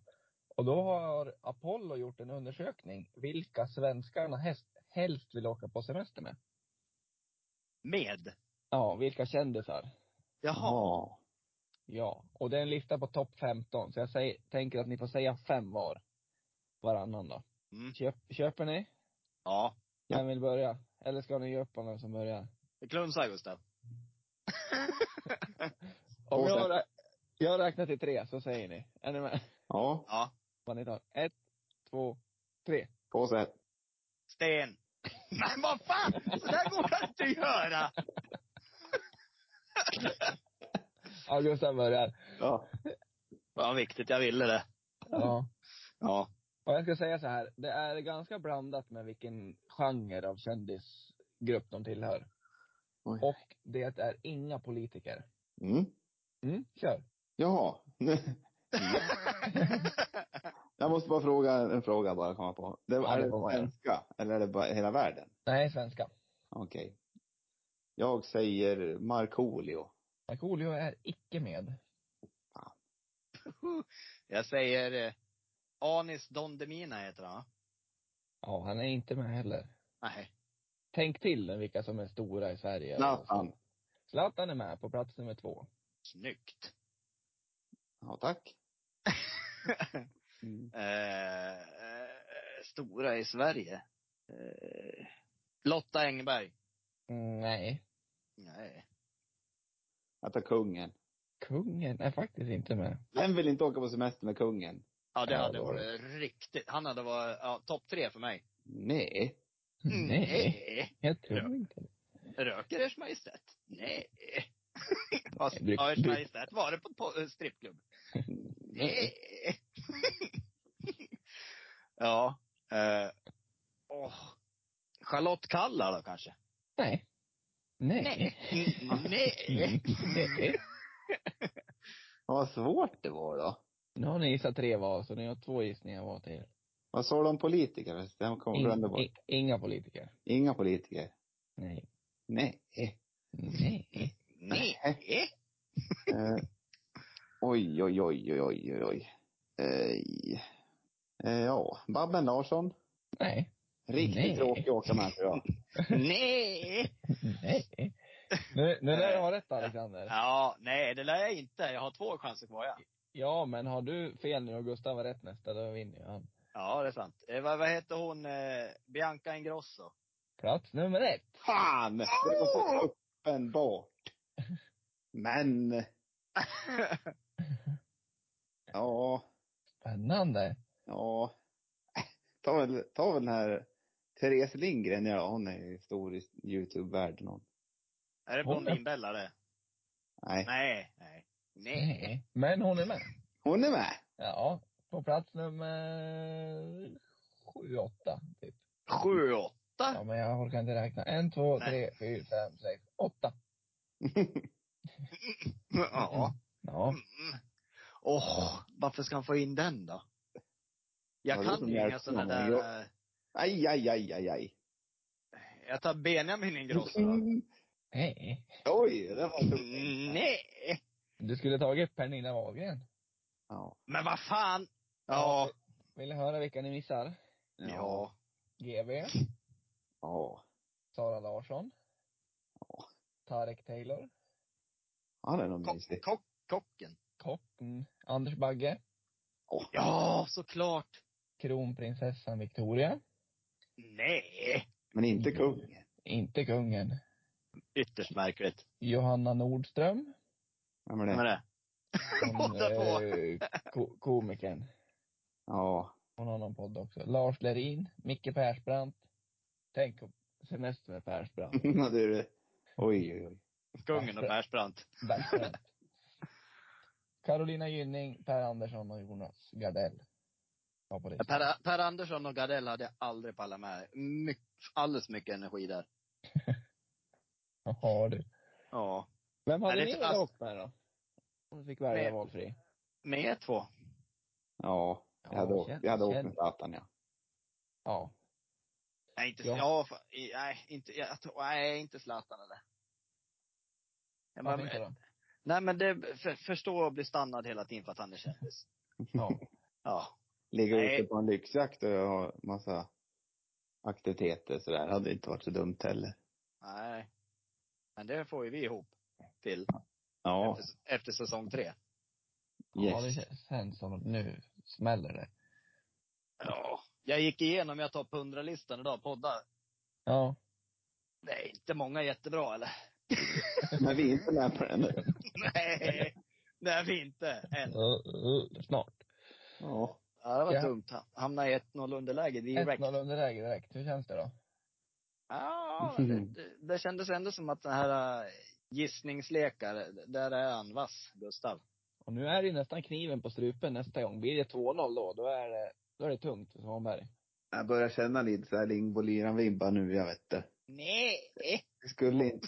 Speaker 1: Och då har Apollo gjort en undersökning vilka svenskarna helst, helst vill åka på semester med.
Speaker 3: Med.
Speaker 1: Ja, vilka kändisar.
Speaker 3: Jaha.
Speaker 2: Ja.
Speaker 1: Ja. Och det är en lista på topp 15, så jag säger, tänker att ni får säga fem var. Varannan då.
Speaker 3: Mm.
Speaker 1: Köp, köper ni?
Speaker 3: Ja.
Speaker 2: Ja.
Speaker 1: Vem vill börja? Eller ska ni ge upp om vem som börjar?
Speaker 3: Klunsa Gustav.
Speaker 1: Om
Speaker 2: Och sen-
Speaker 1: jag, rä- jag räknar till tre så säger ni. Är ni med?
Speaker 2: Ja.
Speaker 3: Ja.
Speaker 1: Vad ni tar. Ett, två, tre.
Speaker 2: Påse.
Speaker 3: Sten. *laughs* Men vad fan! Så där går det inte att göra!
Speaker 1: Ja, Gustav börjar.
Speaker 2: Ja.
Speaker 3: Vad viktigt, jag ville det.
Speaker 1: Ja.
Speaker 3: *laughs* Ja.
Speaker 1: *laughs* Och jag ska säga så här, det är ganska blandat med vilken genre av kändisgrupp de tillhör.
Speaker 2: Oj.
Speaker 1: Och det är inga politiker.
Speaker 2: Mm.
Speaker 1: Mm, *laughs* kör.
Speaker 2: Jaha. *laughs* Jag måste bara fråga en fråga bara komma på. Det,
Speaker 1: Ja,
Speaker 2: var,
Speaker 1: det
Speaker 2: är
Speaker 1: får man
Speaker 2: det
Speaker 1: göra.
Speaker 2: svenska? Eller är det bara hela världen?
Speaker 1: Nej, svenska.
Speaker 2: Okej. Jag säger Markoolio.
Speaker 1: Markoolio är icke med.
Speaker 3: Jag säger eh, Anis Don Demina heter han va?
Speaker 1: Ja, han är inte med heller.
Speaker 3: Nej.
Speaker 1: Tänk till nu vilka som är stora i Sverige.
Speaker 2: Zlatan.
Speaker 1: Zlatan är med på plats nummer två.
Speaker 3: Snyggt.
Speaker 2: Ja, tack. Mm.
Speaker 3: eh, eh, stora i Sverige. Eh, Lotta Engberg.
Speaker 1: Mm, nej.
Speaker 3: Nej.
Speaker 2: Jag tar kungen.
Speaker 1: Kungen är faktiskt inte med.
Speaker 2: Vem vill inte åka på semester med kungen?
Speaker 3: Ja, det
Speaker 1: Ja,
Speaker 3: hade
Speaker 1: det var
Speaker 3: varit riktigt. Han hade varit, ja, topp tre för mig.
Speaker 2: Nej.
Speaker 3: Mm.
Speaker 1: Nej. Jag tror
Speaker 3: Ja.
Speaker 1: inte det.
Speaker 3: Röker Ers Majestät?
Speaker 1: *laughs*
Speaker 3: Nej. Fast,
Speaker 1: bruk-
Speaker 3: ja, Ers
Speaker 1: bruk-
Speaker 3: Majestät var det på, på eh, strippklubb. Nej. *laughs* ja. Eh, åh. Charlotte Kalla då kanske?
Speaker 1: Nej. Nej.
Speaker 3: Nej.
Speaker 1: Nej.
Speaker 2: Ja, vad svårt det var då.
Speaker 1: Nu har ni gissat tre var, så ni har två gissningar var till.
Speaker 2: Vad sa de om politiker? förresten? Jag kommer glömde
Speaker 1: In,
Speaker 2: bort.
Speaker 1: i, inga politiker.
Speaker 2: Inga politiker.
Speaker 1: Nej.
Speaker 2: Nej.
Speaker 1: Nej.
Speaker 3: Nej.
Speaker 2: Eh, oj, oj, oj, oj, oj, oj, oj. Eh, eh, ja, Babben Larsson.
Speaker 1: Nej.
Speaker 2: Riktigt
Speaker 1: Nej.
Speaker 2: tråkig att åka med tror jag.
Speaker 3: Nej.
Speaker 1: Nej. Nu, nu lär du ha rätt Alexander.
Speaker 3: Ja, nej det lär jag inte. Jag har två chanser kvar ja.
Speaker 1: Ja, men har du fel nu och Gustav har rätt nästa, då vinner ju han.
Speaker 3: Ja, det är sant. Eh, vad, vad heter hon? Eh, Bianca Ingrosso.
Speaker 1: Plats nummer ett.
Speaker 2: Fan! Det var så uppenbart. Men, ja,
Speaker 1: Spännande.
Speaker 2: ja. *laughs* Ta väl, ta väl den här Therese Lindgren, ja hon är ju stor i YouTube-världen hon.
Speaker 3: är det Blondinbella det?
Speaker 2: Nej.
Speaker 3: Nej, nej. Nej.
Speaker 1: Nej. Eh, Men hon är med.
Speaker 2: Hon är med!
Speaker 1: Ja. På plats nummer sju, åtta, typ.
Speaker 3: Sju, åtta.
Speaker 1: Ja, men jag orkar inte räkna. En, två, tre,
Speaker 3: Ah. Nej.
Speaker 1: fyra, fem, sex, åtta.
Speaker 3: Ja.
Speaker 1: mm. Ja.
Speaker 3: Mm. Åh, varför ska han få in den då?
Speaker 2: Ja,
Speaker 3: Jag
Speaker 2: det är
Speaker 3: kan
Speaker 2: som
Speaker 3: ju inga
Speaker 2: hjälper
Speaker 3: sådana
Speaker 2: honom,
Speaker 3: där...
Speaker 2: ja.
Speaker 3: eh,
Speaker 2: Aj, aj, aj, aj, aj.
Speaker 3: Jag tar Benjamin Ingrosso då.
Speaker 2: Mm.
Speaker 1: Nej.
Speaker 2: Oj, det var
Speaker 3: Mm, Nej!
Speaker 1: eh. Du skulle tagit Pernilla Wahlgren.
Speaker 2: Ja.
Speaker 3: Men vad fan! Ja.
Speaker 1: Vill ni höra vilka ni missar?
Speaker 2: Ja.
Speaker 3: Ja.
Speaker 1: GB,
Speaker 2: Ja.
Speaker 1: Sara Larsson.
Speaker 2: Ja.
Speaker 1: Tarek Taylor.
Speaker 2: Han är nog
Speaker 3: Kock,
Speaker 2: mysig.
Speaker 3: kock, kocken.
Speaker 1: Kocken. Anders Bagge.
Speaker 3: Ja, såklart!
Speaker 1: Kronprinsessan Victoria.
Speaker 3: Nej!
Speaker 2: Men inte kungen.
Speaker 1: Inte kungen.
Speaker 3: Ytterst märkligt.
Speaker 1: Johanna
Speaker 3: *laughs*
Speaker 1: Nordström.
Speaker 2: Vem är
Speaker 3: Vem är
Speaker 2: det?
Speaker 3: det?
Speaker 1: Hon,
Speaker 3: Båda två.
Speaker 1: eh, ko- komikern.
Speaker 2: Ja. *laughs*
Speaker 1: Hon har någon podd också. Lars Lerin, Micke Persbrandt. Tänk om semester med
Speaker 2: *laughs*
Speaker 1: Persbrandt.
Speaker 2: Ja, du. Oj, oj, oj.
Speaker 3: Kungen och Persbrandt.
Speaker 1: Persbrandt. Carolina Gynning, Per Andersson och Jonas Gardell. Ja, på det.
Speaker 3: Per, per Andersson och Gardell hade jag aldrig pallat med. My, alldeles mycket energi där.
Speaker 1: Jaha du.
Speaker 3: Ja.
Speaker 1: Vem hade
Speaker 3: Nej,
Speaker 1: ni
Speaker 3: det är
Speaker 1: velat
Speaker 3: fast-
Speaker 1: åkt med då? Om du fick välja
Speaker 3: Nej.
Speaker 1: valfri.
Speaker 3: Med er två.
Speaker 2: Ja. Jag hade åkt,
Speaker 1: känn-
Speaker 2: jag hade åkt
Speaker 1: känn-
Speaker 2: med Zlatan, ja.
Speaker 1: Ja.
Speaker 3: Nej, inte,
Speaker 1: Ja.
Speaker 3: ja. fa- i- nej, inte, jag, tror- nej, inte Zlatan eller. Jag bara,
Speaker 1: Varför inte då?
Speaker 3: nej men det, för, förstå att bli stannad hela tiden för att han är kändis.
Speaker 1: Ja.
Speaker 3: *laughs* Ja.
Speaker 2: Ligga
Speaker 3: Nej.
Speaker 2: ute på en lyxjakt och ha massa aktiviteter sådär. Det hade inte varit så dumt heller.
Speaker 3: Nej. Men det får ju vi ihop till
Speaker 2: Ja.
Speaker 3: efter, efter säsong tre.
Speaker 1: Ja, det
Speaker 2: Yes.
Speaker 1: känns- känns som att nu smäller det.
Speaker 3: Ja. Jag gick igenom, jag tar på 100-listan idag, poddar.
Speaker 1: Ja.
Speaker 3: Det är inte många jättebra eller? *laughs*
Speaker 2: Men vi är inte med på den nu.
Speaker 3: Nej. Det är vi inte än.
Speaker 1: Uh, uh, snart.
Speaker 2: Ja.
Speaker 3: Ja, det var
Speaker 1: Ja.
Speaker 3: tungt. Hamna i 1-0 underläge direkt.
Speaker 1: 1-0 underläge direkt. Hur känns det då?
Speaker 3: Ja, det, det- det kändes ändå som att den här äh, gissningslekar, där är han vass, Gustav.
Speaker 1: Och nu är det ju nästan kniven på strupen nästa gång. Blir det 2-0 då, då är det, då är det tungt för Svanberg.
Speaker 2: Jag börjar känna lite såhär Lingbo Lyran-vibbar nu, jag vet det.
Speaker 3: Nej!
Speaker 2: Jag skulle inte...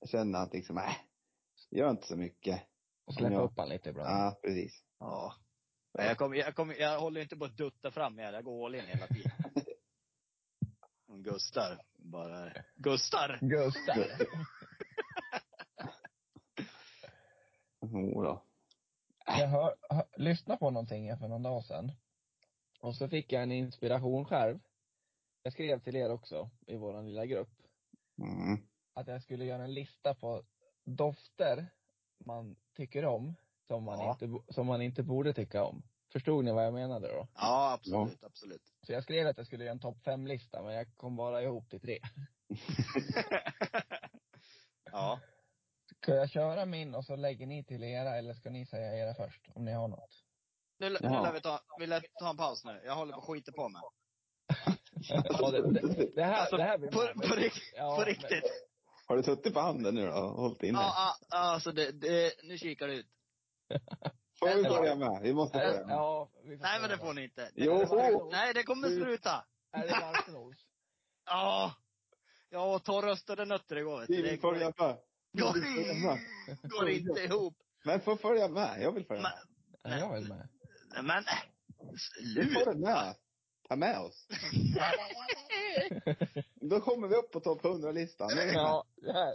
Speaker 2: jag känner att liksom, äh, gör inte så mycket.
Speaker 1: Och släppa
Speaker 2: Ja.
Speaker 1: upp han lite ibland.
Speaker 2: Ja, precis.
Speaker 3: Ja. Men Jag, kommer, jag, kommer, jag håller inte på att dutta fram här, jag går all in hela tiden. Gustav, bara. Gustav!
Speaker 1: Gustav.
Speaker 2: Jo då.
Speaker 1: Jag hör, hör, lyssnade på någonting här för någon dag sedan. Och så fick jag en inspiration själv. Jag skrev till er också, i vår lilla grupp,
Speaker 2: Mm.
Speaker 1: att jag skulle göra en lista på dofter man tycker om, som man,
Speaker 3: Ja.
Speaker 1: inte, bo- som man inte borde tycka om. Förstod ni vad jag menade då?
Speaker 3: Ja, absolut, absolut.
Speaker 1: Så jag skrev att jag skulle göra en topp fem-lista, men jag kom bara ihop till tre.
Speaker 3: ja.
Speaker 1: Ska jag köra min och så lägger ni till era, eller ska ni säga era först, om ni har något?
Speaker 3: Nu, nu
Speaker 2: Ja.
Speaker 3: lär vi ta, vi lär ta en paus nu. Jag håller på och skiter på mig.
Speaker 1: Ja, det, det, det här, det här blir
Speaker 3: Alltså, På, på, rikt-
Speaker 1: Ja,
Speaker 3: på
Speaker 1: men-
Speaker 3: riktigt.
Speaker 2: Har du suttit på handen nu då och hållit inne?
Speaker 3: Ja, ja, ja, alltså det, det, nu kikar det ut.
Speaker 2: Får vi börja med? Vi måste börja med.
Speaker 1: Ja, vi får
Speaker 3: Nej
Speaker 1: se
Speaker 3: men det
Speaker 1: då.
Speaker 3: får ni inte. Det
Speaker 2: Jo.
Speaker 3: kommer sluta. Nej, det kommer sluta.
Speaker 1: Är det
Speaker 3: *laughs*
Speaker 1: Garpenros?
Speaker 3: Ja. Jag åt torrröstade nötter igår vet
Speaker 2: Vi
Speaker 3: du. Det
Speaker 2: vill
Speaker 3: går,
Speaker 2: följa med.
Speaker 3: går,
Speaker 2: Vi vill följa med.
Speaker 3: går inte ihop.
Speaker 2: Men får följa med? Jag vill följa med.
Speaker 3: Men,
Speaker 1: Är jag väl med?
Speaker 3: men
Speaker 2: Du får
Speaker 3: sluta.
Speaker 2: den med. Ta med oss. Då kommer vi upp på topp 100-listan. Är ni med?
Speaker 1: Ja, det här.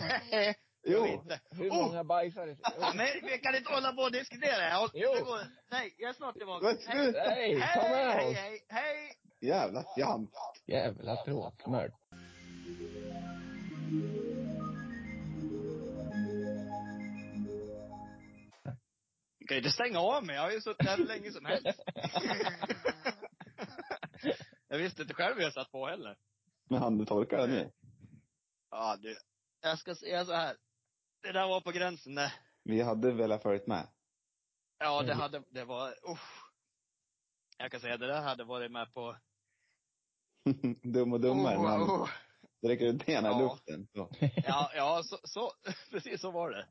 Speaker 3: Nej, jag vill
Speaker 2: Jo.
Speaker 3: inte.
Speaker 1: Hur
Speaker 3: Oh!
Speaker 1: många bajsar
Speaker 3: *laughs*
Speaker 1: i...
Speaker 3: Ja, Men vi kan inte hålla på och diskutera. det här.
Speaker 1: Jo.
Speaker 3: Det går- Nej, jag är snart tillbaka.
Speaker 2: Men
Speaker 3: Hej,
Speaker 2: sluta!
Speaker 1: Nej, ta med
Speaker 3: hej,
Speaker 1: oss!
Speaker 3: hej, hej.
Speaker 2: Jävla fjant.
Speaker 1: Jävla tråkmörd.
Speaker 3: Du kan ju inte stänga av mig. Jag har ju suttit här hur länge som helst. Jag visste inte själv hur jag satt på heller.
Speaker 2: Med handtorkar nu.
Speaker 3: Ja, du. Jag ska säga så här. Det där var på gränsen det.
Speaker 2: Vi hade velat följt med. *laughs*
Speaker 3: Ja, det
Speaker 1: Mm.
Speaker 3: hade, det var, usch. Jag kan säga, det där hade varit med på...
Speaker 2: Dum och dummare. när
Speaker 3: Oh,
Speaker 2: han
Speaker 3: oh.
Speaker 2: Dricker ut benen
Speaker 3: Ja.
Speaker 2: i luften. Så.
Speaker 3: Ja, ja så, så, *laughs* precis så var det.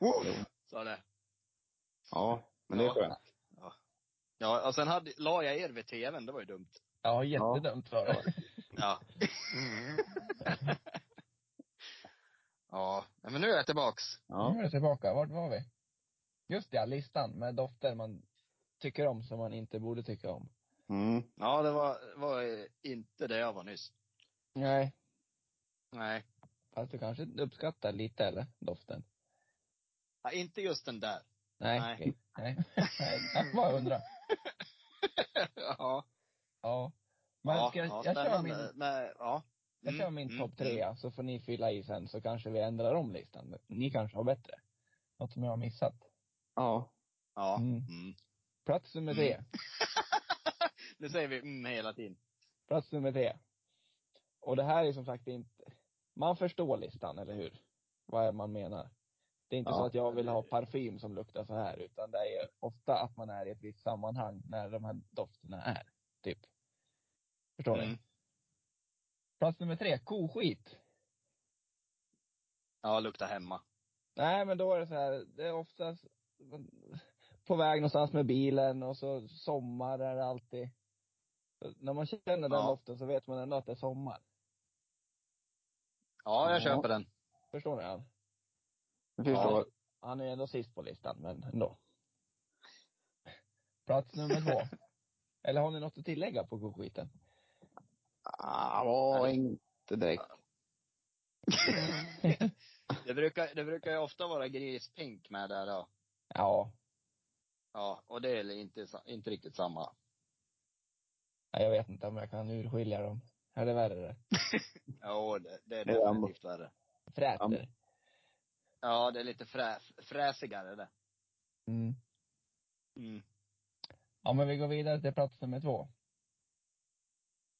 Speaker 2: Jo.
Speaker 3: Sa det.
Speaker 2: Ja, men det är
Speaker 3: Ja.
Speaker 2: skönt.
Speaker 3: Ja, och sen hade, la jag er vid tvn, det var ju dumt.
Speaker 1: Ja, jättedumt var det.
Speaker 3: Ja. *laughs* ja, nej, men nu är jag tillbaks.
Speaker 1: Nu
Speaker 2: Ja.
Speaker 1: är det tillbaka. Vart var vi? Just ja, listan med dofter man tycker om som man inte borde tycka om.
Speaker 2: Mm.
Speaker 3: Ja, det var, var eh, inte det jag var nyss.
Speaker 1: Nej.
Speaker 3: Nej.
Speaker 1: Fast du kanske uppskattar lite eller? Doften?
Speaker 3: Ja, inte just den där.
Speaker 1: Nej.
Speaker 3: Nej.
Speaker 1: okej. Nej. Nej. Jag bara undrar.
Speaker 3: *laughs* ja.
Speaker 1: Ja. Men
Speaker 3: ja,
Speaker 1: ska jag,
Speaker 3: ja,
Speaker 1: jag kör
Speaker 3: spännande.
Speaker 1: min,
Speaker 3: Men, ja.
Speaker 1: jag kör
Speaker 3: Mm,
Speaker 1: min
Speaker 3: mm,
Speaker 1: topp trea så får ni fylla i sen så kanske vi ändrar om listan. Ni kanske har bättre. Något som jag har missat.
Speaker 2: Ja.
Speaker 3: Ja.
Speaker 1: Mm.
Speaker 3: Mm.
Speaker 1: Plats nummer tre.
Speaker 3: Nu säger vi mm hela tiden.
Speaker 1: Plats nummer tre. Och det här är som sagt inte, man förstår listan, eller hur? Vad är man menar. Det är inte
Speaker 2: Ja.
Speaker 1: så att jag vill ha parfym som luktar så här, utan det är ofta att man är i ett visst sammanhang när de här dofterna är, typ. Förstår ni?
Speaker 3: Mm.
Speaker 1: Plats nummer tre, koskit.
Speaker 3: Ja, lukta hemma.
Speaker 1: Nej, men då är det så här, det är oftast på väg någonstans med bilen och så sommar är det alltid. Så När man känner den
Speaker 3: Ja.
Speaker 1: doften så vet man ändå att det är sommar.
Speaker 3: Ja, jag
Speaker 2: Ja.
Speaker 1: *laughs*
Speaker 3: köper den.
Speaker 1: Förstår ni? Jan?
Speaker 2: Jag förstår.
Speaker 1: Han är ändå sist på listan, men ändå. Plats nummer två.
Speaker 2: *laughs*
Speaker 1: Eller har ni något att tillägga på godskiten?
Speaker 2: Ah, ja, inte direkt.
Speaker 3: det, brukar, det brukar ju ofta vara grispink med där då.
Speaker 1: Ja,
Speaker 3: Ja, och det är inte, sa- inte riktigt samma.
Speaker 1: nej, jag vet inte om jag kan urskilja dem. Är det värre det?
Speaker 3: Ja, det, det är
Speaker 2: Det är samma.
Speaker 3: definitivt värre.
Speaker 1: Fräter.
Speaker 3: Ja, det är lite fräs, fräsigare det.
Speaker 1: Mm.
Speaker 3: Mm.
Speaker 1: Ja, men vi går vidare till plats nummer två.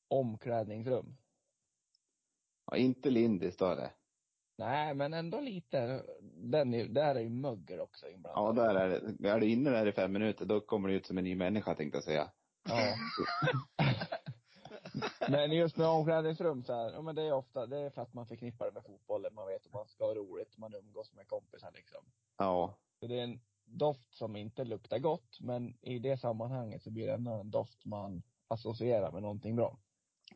Speaker 1: Omklädningsrum.
Speaker 2: Ja, inte lindiskt då det.
Speaker 1: Nej, men ändå lite. Den är, där är ju mögel också
Speaker 2: Ja,
Speaker 1: inblandat.
Speaker 2: där är det. Är du inne där i fem minuter, då kommer du ut som en ny människa tänkte jag säga.
Speaker 1: Ja. *laughs* men just med omklädningsrum så här, ja men det är ofta, det är för att man förknippar det med fotbollen. Man vet att man ska ha roligt, man umgås med kompisar liksom.
Speaker 2: Ja.
Speaker 1: Så det är en doft som inte luktar gott, men i det sammanhanget så blir det ändå en doft man associerar med någonting bra.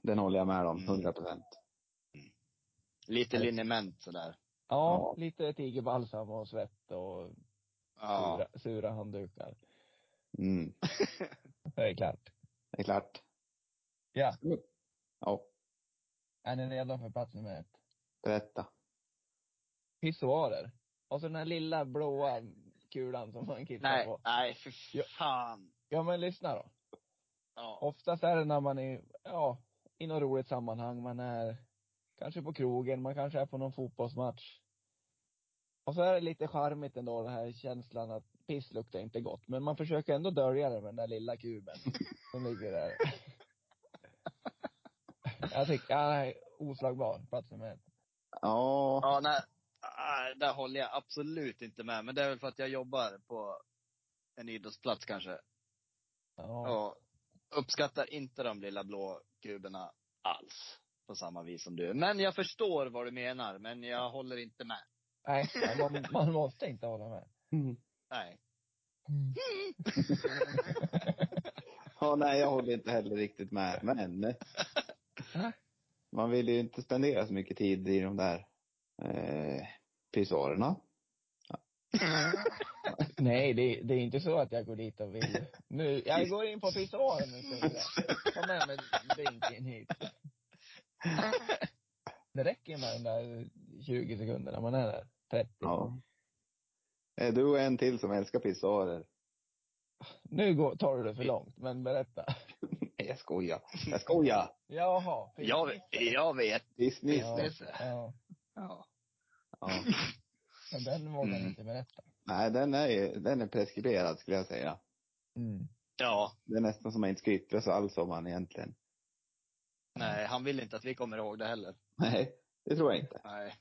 Speaker 2: Den håller jag med om,
Speaker 3: Mm.
Speaker 2: 100 procent.
Speaker 3: Lite liniment sådär.
Speaker 1: Ja,
Speaker 2: Ja.
Speaker 1: lite tigerbalsam och svett och
Speaker 3: Ja.
Speaker 1: sura, sura handdukar.
Speaker 2: Mm.
Speaker 1: Det är klart.
Speaker 2: Det är klart.
Speaker 1: Ja.
Speaker 2: Ja,
Speaker 1: Är ni redo för plats nummer ett?
Speaker 2: berätta.
Speaker 1: Pissoarer. Och så den här lilla blåa kulan som man kissar
Speaker 3: Nej, äh.
Speaker 1: på.
Speaker 3: nej, för
Speaker 1: Ja.
Speaker 3: fan.
Speaker 1: Ja men lyssna då.
Speaker 3: Ja.
Speaker 1: Oftast är det när man är, ja, i något roligt sammanhang. Man är kanske på krogen, man kanske är på någon fotbollsmatch. Och så är det lite charmigt ändå den här känslan att piss luktar inte gott. Men man försöker ändå dölja det med den där lilla kuben som ligger där. Jag tycker, ja, nej, oslagbar plats nummer ett.
Speaker 2: Ja.
Speaker 3: Ja, nej. Ah, Där håller jag absolut inte med. Men det är väl för att jag jobbar på en idrottsplats kanske.
Speaker 1: Ja.
Speaker 3: Och uppskattar inte de lilla blå kuberna alls. På samma vis som du. Men jag förstår vad du menar, men jag håller inte med.
Speaker 1: Nej, man, man måste inte hålla med.
Speaker 2: Mm.
Speaker 1: *laughs*
Speaker 3: Nej.
Speaker 2: Ja, nej, jag håller inte heller riktigt med. Men eh,
Speaker 1: Va?
Speaker 2: man vill ju inte spendera så mycket tid i de där eh, pissoarerna.
Speaker 1: Nej, det, det är inte så att jag går dit och vill. Nu, jag går in på pissoaren nu istället. Ta med mig drinken hit. Det räcker med de där 20 sekunderna man är där. 30.
Speaker 2: Ja. Eh, Du och en till som älskar pissoarer.
Speaker 1: Nu går, tar du det för långt, men berätta.
Speaker 2: Nej, jag skojar. Jag skojar.
Speaker 1: Jaha. piss-
Speaker 3: Jag, jag vet.
Speaker 2: Disney.
Speaker 1: Ja.
Speaker 2: Ja.
Speaker 1: Ja.
Speaker 3: Ja.
Speaker 1: Men den vågar jag
Speaker 3: Mm.
Speaker 1: inte berätta.
Speaker 2: Nej, den är, ju- den är preskriberad skulle jag säga.
Speaker 1: Mm.
Speaker 3: Ja.
Speaker 2: Det är nästan som man inte ska yttra sig alls om han egentligen.
Speaker 3: Nej, han vill inte att vi kommer ihåg det heller.
Speaker 2: Nej, det tror jag inte.
Speaker 3: Nej.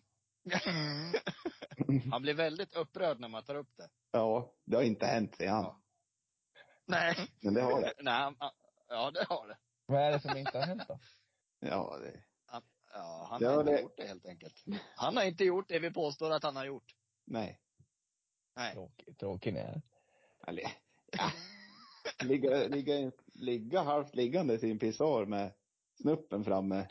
Speaker 1: Mm.
Speaker 3: *laughs* han blir väldigt upprörd när man tar upp det.
Speaker 2: Ja, det har inte hänt, säger han.
Speaker 3: Ja. Nej.
Speaker 2: Men det har det.
Speaker 3: Nej, han, han- ja det har det.
Speaker 1: Vad är det som inte har hänt då?
Speaker 2: Ja, det.
Speaker 3: Ja, han
Speaker 2: Det
Speaker 3: har
Speaker 2: har
Speaker 3: inte
Speaker 2: det.
Speaker 3: gjort det helt enkelt. Han har inte gjort det vi påstår att han har gjort.
Speaker 2: Nej.
Speaker 3: Nej.
Speaker 1: Tråkig, tråkig ni är.
Speaker 2: Eller,
Speaker 3: *laughs*
Speaker 2: ja. Ligga, ligga, ligga halvt liggandes i en pissoar med snuppen framme.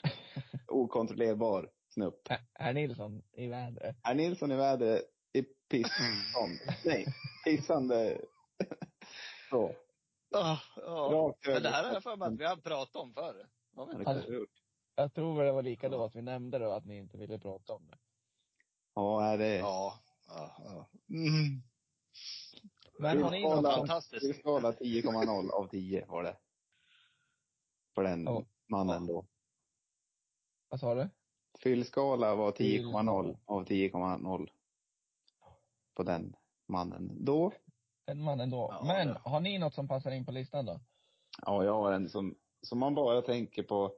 Speaker 2: Okontrollerbar snupp.
Speaker 1: Ä- Är Nilsson i vädret?
Speaker 2: Är Nilsson i vädret i pissan? Nej, pissande. Så.
Speaker 3: Ja, ja.
Speaker 2: Rakt
Speaker 3: Men det här har jag för mig att vi har pratat om förr. Har
Speaker 2: Ja,
Speaker 3: vi inte?
Speaker 2: det kanske vi har gjort.
Speaker 1: Jag tror väl det var lika då att vi nämnde det och att ni inte ville prata om det.
Speaker 2: Ja, är det.
Speaker 3: Ja. ja, ja. Mm.
Speaker 1: Men har ni något
Speaker 2: Kolla.
Speaker 1: som,
Speaker 2: Det är
Speaker 3: Fantastiskt.
Speaker 2: skala 10,0 av 10 var det. På den
Speaker 1: Ja.
Speaker 2: mannen då.
Speaker 1: vad sa du?
Speaker 2: Fyllskala var 10,0 av 10,0. På den mannen då.
Speaker 1: En man ändå.
Speaker 3: Ja,
Speaker 1: Men
Speaker 3: det-
Speaker 1: har ni något som passar in på listan då?
Speaker 2: Ja, jag har en som, som man bara tänker på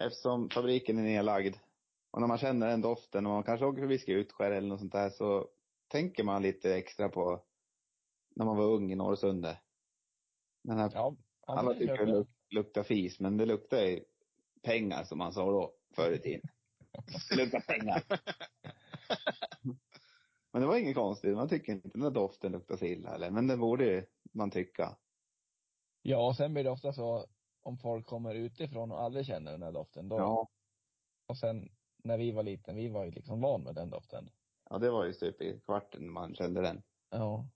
Speaker 2: eftersom fabriken är nedlagd. Och när man känner den doften och man kanske åker förbi Skutskär eller något sånt där så tänker man lite extra på när man var ung i Norrsundet. Den här
Speaker 1: Ja. ja,
Speaker 2: Alla
Speaker 1: men det
Speaker 2: tycker
Speaker 1: köper
Speaker 2: det
Speaker 1: jag.
Speaker 2: luk- luktar fis, men det luktar ju pengar som man sa då, förr i tiden. Det luktar pengar. men det var inget konstigt. Man tycker inte den där doften luktar så illa eller, men det borde ju man tycka.
Speaker 1: Ja, och sen blir det ofta så om folk kommer utifrån och aldrig känner den här doften. Då,
Speaker 2: Ja.
Speaker 1: Och sen när vi var liten, vi var ju liksom van med den doften.
Speaker 2: Ja, det var ju typ i kvarten man kände den.
Speaker 1: Ja.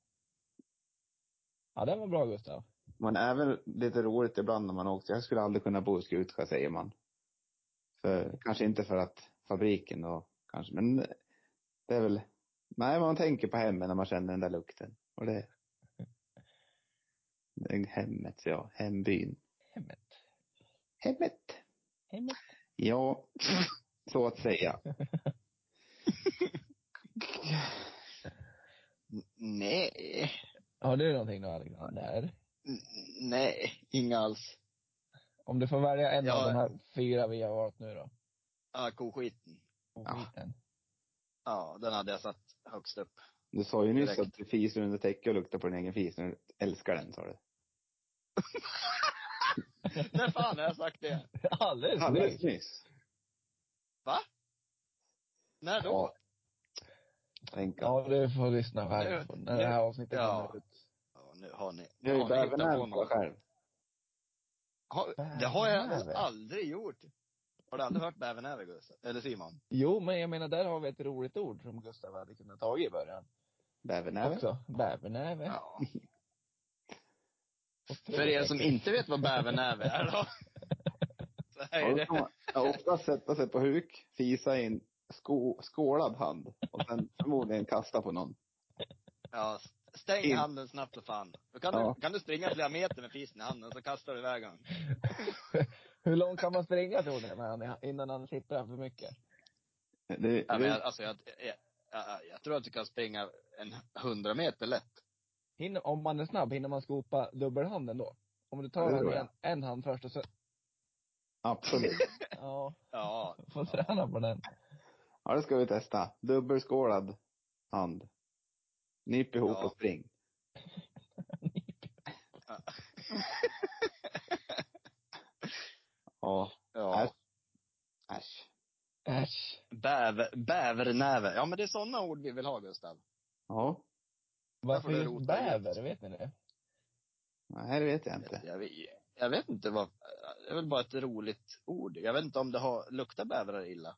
Speaker 1: Ja, den var bra Gustav.
Speaker 2: Men även lite roligt ibland när man åkte. Jag skulle aldrig kunna bo i Skutskär säger man. För, kanske inte för att fabriken då kanske, men det är väl, nej man tänker på hemmet när man känner den där lukten. Och det, det är hemmet ja, hembyn.
Speaker 1: Hemmet.
Speaker 2: Hemmet.
Speaker 1: Hemmet.
Speaker 2: Ja, *laughs* så att säga.
Speaker 3: Nej.
Speaker 1: Har du någonting då Alexander?
Speaker 3: N- Nej, inga alls.
Speaker 1: Om du får välja en
Speaker 3: Ja.
Speaker 1: av de här fyra vi har valt nu då?
Speaker 3: Ja, koskiten.
Speaker 1: Och
Speaker 2: Ja.
Speaker 1: skiten. *laughs*
Speaker 3: Ja, den hade jag satt högst upp.
Speaker 2: Du sa ju nyss
Speaker 3: Direkt.
Speaker 2: att du fiser under täcke och luktar på din egen fis när du älskar den sa du.
Speaker 3: När fan har jag sagt det?
Speaker 1: Alldeles
Speaker 2: Alldeles
Speaker 1: nyss.
Speaker 2: nyss.
Speaker 3: När då?
Speaker 2: Ja. Tänk att-
Speaker 1: Ja, du får lyssna
Speaker 3: Jag
Speaker 1: här
Speaker 3: vet.
Speaker 1: på när det här avsnittet
Speaker 3: Ja.
Speaker 1: kommer ut.
Speaker 3: Ja, nu har ni.
Speaker 2: Jag är ju
Speaker 3: har ni hittat på
Speaker 2: bävernäven
Speaker 3: något?
Speaker 2: själv.
Speaker 3: Har- Det har jag
Speaker 1: Bävernäve?
Speaker 3: aldrig gjort. Har du aldrig hört bävernäve, Gustav? Eller Simon?
Speaker 1: Jo, men jag menar där har vi ett roligt ord som Gustav hade kunnat ta i början.
Speaker 2: Bävernäven.
Speaker 1: Också. Bävernäve.
Speaker 3: Ja.
Speaker 1: Och
Speaker 3: För er som inte vet vad bävernäve är *laughs* då. Så här
Speaker 2: Ja,
Speaker 3: är
Speaker 2: då
Speaker 3: det.
Speaker 2: kan man- ja, Oftast sätta sig på huk, fisa i en sko, skålad hand och sen förmodligen kasta på någon.
Speaker 3: Ja, stäng
Speaker 2: In.
Speaker 3: handen snabbt som fan. Då kan,
Speaker 2: Ja.
Speaker 3: du, kan du springa flera meter med fisen i handen, så kastar du iväg honom.
Speaker 1: Hur långt kan man springa tror ni, med han- innan han sipprar för mycket?
Speaker 2: Det,
Speaker 3: Ja, men jag,
Speaker 2: det,
Speaker 3: alltså, jag, jag, jag, jag tror att du kan springa en hundra meter lätt.
Speaker 1: Hinner, om man är snabb, hinner man skopa dubbelhanden då? Om du
Speaker 2: Ja,
Speaker 1: tar
Speaker 2: det
Speaker 1: den
Speaker 2: tror
Speaker 1: i
Speaker 2: jag.
Speaker 1: en, en hand först och sen,
Speaker 2: absolut.
Speaker 1: ja,
Speaker 3: Ja.
Speaker 1: får träna på den.
Speaker 2: Ja, det ska vi testa. Dubbelskålad hand. Nyp ihop
Speaker 3: Ja.
Speaker 2: och
Speaker 3: *laughs*
Speaker 2: spring. Ja.
Speaker 3: ja.
Speaker 2: Äsch.
Speaker 1: Äsch.
Speaker 3: Bäver, bävernäve. Ja, men det är sådana ord vi vill ha, Gustav.
Speaker 2: Ja.
Speaker 1: Varför
Speaker 3: får du
Speaker 1: just
Speaker 3: rota
Speaker 1: bäver, vet ni det?
Speaker 2: Nej, det vet jag inte.
Speaker 3: Jag, vet- jag vet inte vad, det är väl bara ett roligt ord. Jag vet inte om det har, luktar bävrar illa.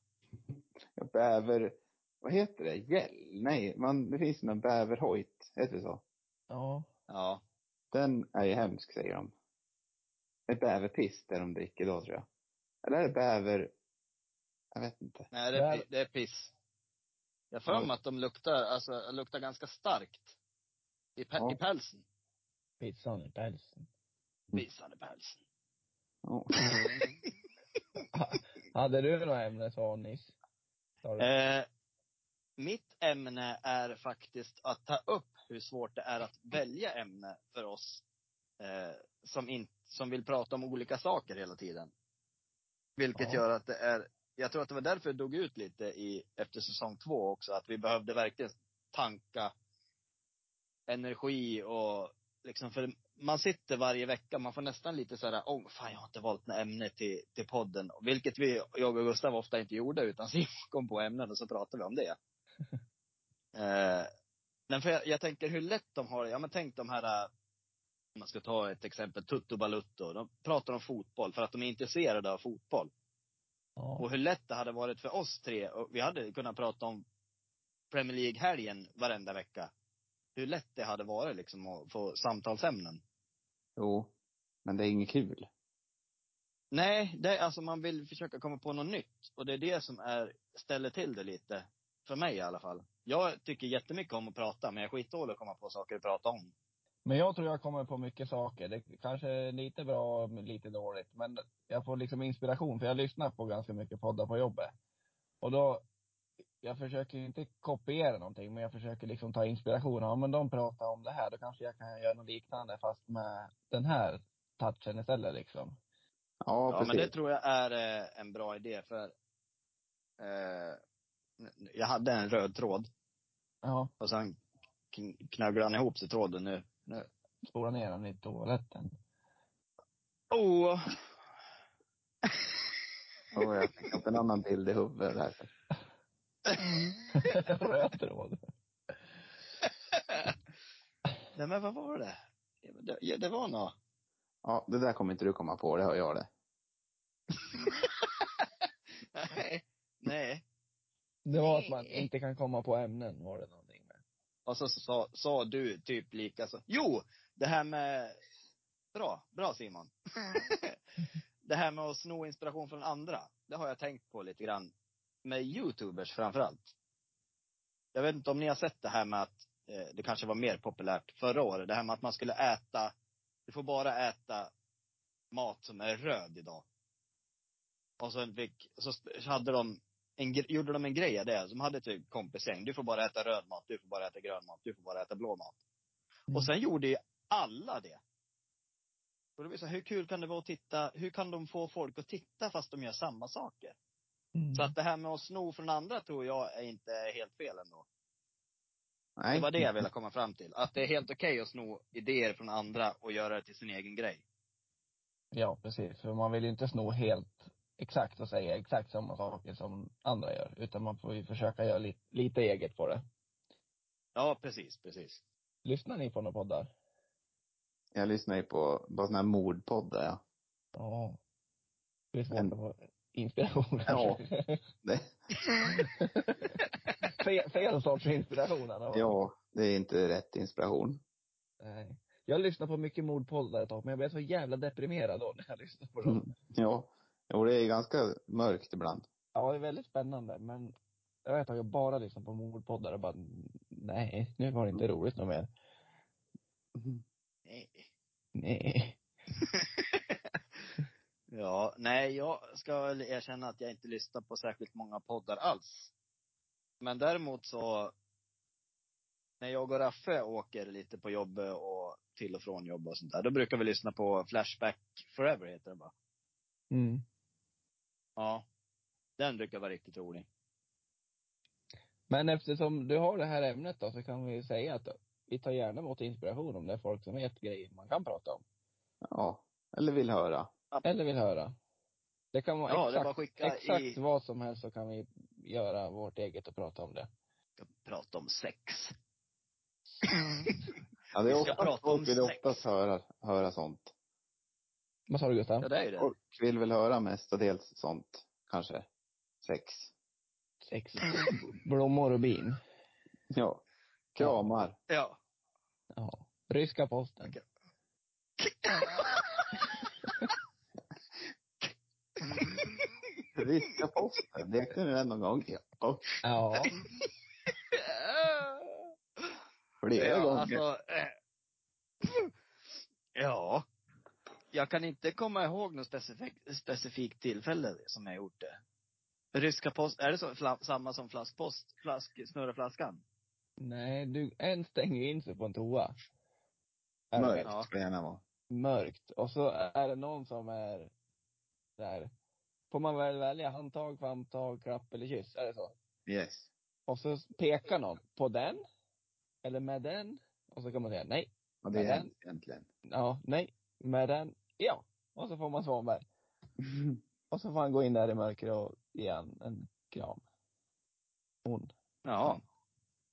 Speaker 2: Bäver... Vad heter det? Gäll? Nej, man, det finns ju någon bäverhojt. Heter det så?
Speaker 1: Ja.
Speaker 3: Ja.
Speaker 2: Den är ju hemsk, säger de. Det är bäverpiss det de dricker då, tror jag. Eller är det bäver... Jag vet inte.
Speaker 3: Nej, det, är- det är piss. Jag får för mig att de luktar, alltså luktar ganska starkt. I, pe-
Speaker 2: Ja.
Speaker 3: i pälsen.
Speaker 1: Pizzan i pälsen.
Speaker 3: Visande pälsen.
Speaker 2: Ja.
Speaker 1: Hade du några ämnen sa hon nyss? Sa du?
Speaker 3: *laughs* Eh, mitt ämne är faktiskt att ta upp hur svårt det är att välja ämne för oss eh, som, in, som vill prata om olika saker hela tiden. Vilket
Speaker 1: Ja.
Speaker 3: gör att det är, jag tror att det var därför det dog ut lite i, efter säsong två också, att vi behövde verkligen tanka energi och liksom, för man sitter varje vecka, man får nästan lite så här, åh fan jag har inte valt något ämne till, till podden. Vilket vi, jag och Gustav ofta inte gjorde, utan *laughs* så kom på ämnen och så pratade vi om det. eh, men för jag, jag tänker hur lätt de har det. Ja men tänk de här, eh, om man ska ta ett exempel, Tutto Balutto. De pratar om fotboll för att de är intresserade av fotboll.
Speaker 1: Ja.
Speaker 3: Och hur lätt det hade varit för oss tre, och vi hade kunnat prata om Premier League-helgen varenda vecka. Hur lätt det hade varit liksom att få samtalsämnen.
Speaker 2: Jo. Men det är inget kul.
Speaker 3: Nej, det är, alltså man vill försöka komma på något nytt. Och det är det som är, ställer till det lite. För mig i alla fall. Jag tycker jättemycket om att prata, men jag är skitdålig att komma på saker att prata om.
Speaker 1: Men jag tror jag kommer på mycket saker. Det kanske är lite bra, men lite dåligt. Men jag får liksom inspiration, för jag lyssnar på ganska mycket poddar på jobbet. Och då, jag försöker ju inte kopiera någonting, men jag försöker liksom ta inspiration. Ja, men de pratar om det här, då kanske jag kan göra något liknande fast med den här touchen istället liksom.
Speaker 2: Ja,
Speaker 3: Ja,
Speaker 2: precis.
Speaker 3: men det tror jag är eh, en bra idé för eh, n- jag hade en röd tråd
Speaker 1: Ja,
Speaker 3: och sen kn- knögglade han ihop sig tråden nu. nu.
Speaker 1: spola ner den i toaletten. *laughs*
Speaker 3: Oh.
Speaker 2: Jo, jag fick upp en annan bild i huvudet där.
Speaker 1: Röd tråd.
Speaker 3: *laughs* Nej men vad var det? Det, ja, det var något.
Speaker 2: Ja, det där kommer inte du komma på, det hör jag det.
Speaker 3: Nej. Nej.
Speaker 1: Det var att man inte kan komma på ämnen var det någonting med.
Speaker 3: Och så sa, sa du typ lika så. Jo! Det här med... Bra. Bra Simon. *laughs* det här med att sno inspiration från andra. Det har jag tänkt på lite grann. Med youtubers framförallt. Jag vet inte om ni har sett det här med att, eh, det kanske var mer populärt förra året, det här med att man skulle äta, du får bara äta mat som är röd idag. Och så, fick, så sp- så hade de en, gre- gjorde de en grej av det. De hade typ kompisgäng. Du får bara äta röd mat, du får bara äta grön mat, du får bara äta blå mat.
Speaker 1: Mm.
Speaker 3: Och sen gjorde ju alla det. Och det blir så här, hur kul kan det vara att titta, hur kan de få folk att titta fast de gör samma saker? Så
Speaker 1: Mm.
Speaker 3: att det här med att sno från andra tror jag är inte helt fel ändå.
Speaker 2: Nej.
Speaker 3: Det var det jag ville komma fram till. Att det är helt okej att sno idéer från andra och göra det till sin egen grej.
Speaker 1: Ja, precis. För man vill ju inte sno helt exakt och säga exakt samma saker som andra gör. Utan man får ju försöka göra lite, lite eget på det.
Speaker 3: Ja, precis, precis.
Speaker 1: Lyssnar ni på några poddar?
Speaker 2: Jag lyssnar ju på, på sådana här mordpoddar, ja.
Speaker 1: Ja. Det är svårt
Speaker 2: Men-
Speaker 1: att få inspiration
Speaker 2: Ja.
Speaker 1: kanske. *laughs*
Speaker 2: Det,
Speaker 1: fel, fel sorts inspiration eller vad?
Speaker 2: ja, det är inte rätt inspiration.
Speaker 1: Nej. Jag lyssnade på mycket mordpoddar ett tag, men jag blev så jävla deprimerad då när jag lyssnade på dem.
Speaker 2: Mm. Ja. Jo, det är ju ganska mörkt ibland.
Speaker 1: Ja, det är väldigt spännande, men jag vet att jag bara lyssnade på mordpoddar och bara, nej, nu var det
Speaker 2: Mm.
Speaker 1: inte roligt något mer.
Speaker 3: Nej.
Speaker 1: Nej.
Speaker 3: Ja, nej, jag ska väl erkänna att jag inte lyssnar på särskilt många poddar alls. Men däremot så, när jag och Raffe åker lite på jobbet och till och från jobb och sånt där, då brukar vi lyssna på Flashback Forever heter den va?
Speaker 1: Mm.
Speaker 3: Ja. Den brukar vara riktigt rolig.
Speaker 1: Men eftersom du har det här ämnet då, så kan vi ju säga att vi tar gärna emot inspiration om det är folk som vet grejer man kan prata om.
Speaker 2: Ja. Eller vill höra.
Speaker 1: Eller vill höra. Det kan vara
Speaker 3: Ja, det är bara att
Speaker 1: exakt,
Speaker 3: skicka
Speaker 1: exakt
Speaker 3: i,
Speaker 1: vad som helst så kan vi göra vårt eget och prata om det.
Speaker 3: prata om sex.
Speaker 2: Ja, det
Speaker 3: Vi
Speaker 2: är
Speaker 3: ska
Speaker 2: ofta,
Speaker 3: prata om
Speaker 2: folk vill
Speaker 3: sex.
Speaker 2: oftast höra, höra sånt.
Speaker 1: Vad sa du Gustav?
Speaker 3: ja, det är ju det.
Speaker 2: Folk vill väl höra mestadels sånt, kanske. Sex.
Speaker 1: Sex. Blommor och bin.
Speaker 2: Ja. Kramar.
Speaker 3: Ja.
Speaker 1: Ja. Ryska posten.
Speaker 3: Okej.
Speaker 2: Ryska posten. Lekte ni den någon gång? Ja.
Speaker 1: *laughs*
Speaker 3: *laughs*
Speaker 1: Ja.
Speaker 2: Flera gånger.
Speaker 3: alltså, eh, *sniffs* ja. Jag kan inte komma ihåg något specifikt, specifikt tillfälle som jag gjort det. Ryska post, är det så, fla, samma som flaskpost? Flask, snurra flaskan?
Speaker 1: Nej, du, en stänger in sig på en toa. Är det
Speaker 2: Mörkt
Speaker 1: väl?
Speaker 3: Ja.
Speaker 2: ska det gärna vara.
Speaker 1: mörkt. Och så är det någon som är där. Får man väl välja handtag, famntag, klapp eller kyss? Är det så?
Speaker 3: Yes.
Speaker 1: Och så pekar någon på den. Eller med den. Och så kan man säga nej.
Speaker 2: Ja, det är
Speaker 1: Ja,
Speaker 2: hemskt egentligen.
Speaker 1: Ja, nej. Med den. Ja. Och så får man
Speaker 3: *laughs*
Speaker 1: Svanberg. Och så får han gå in där i mörkret och ge en, en kram. Hon.
Speaker 3: Ja.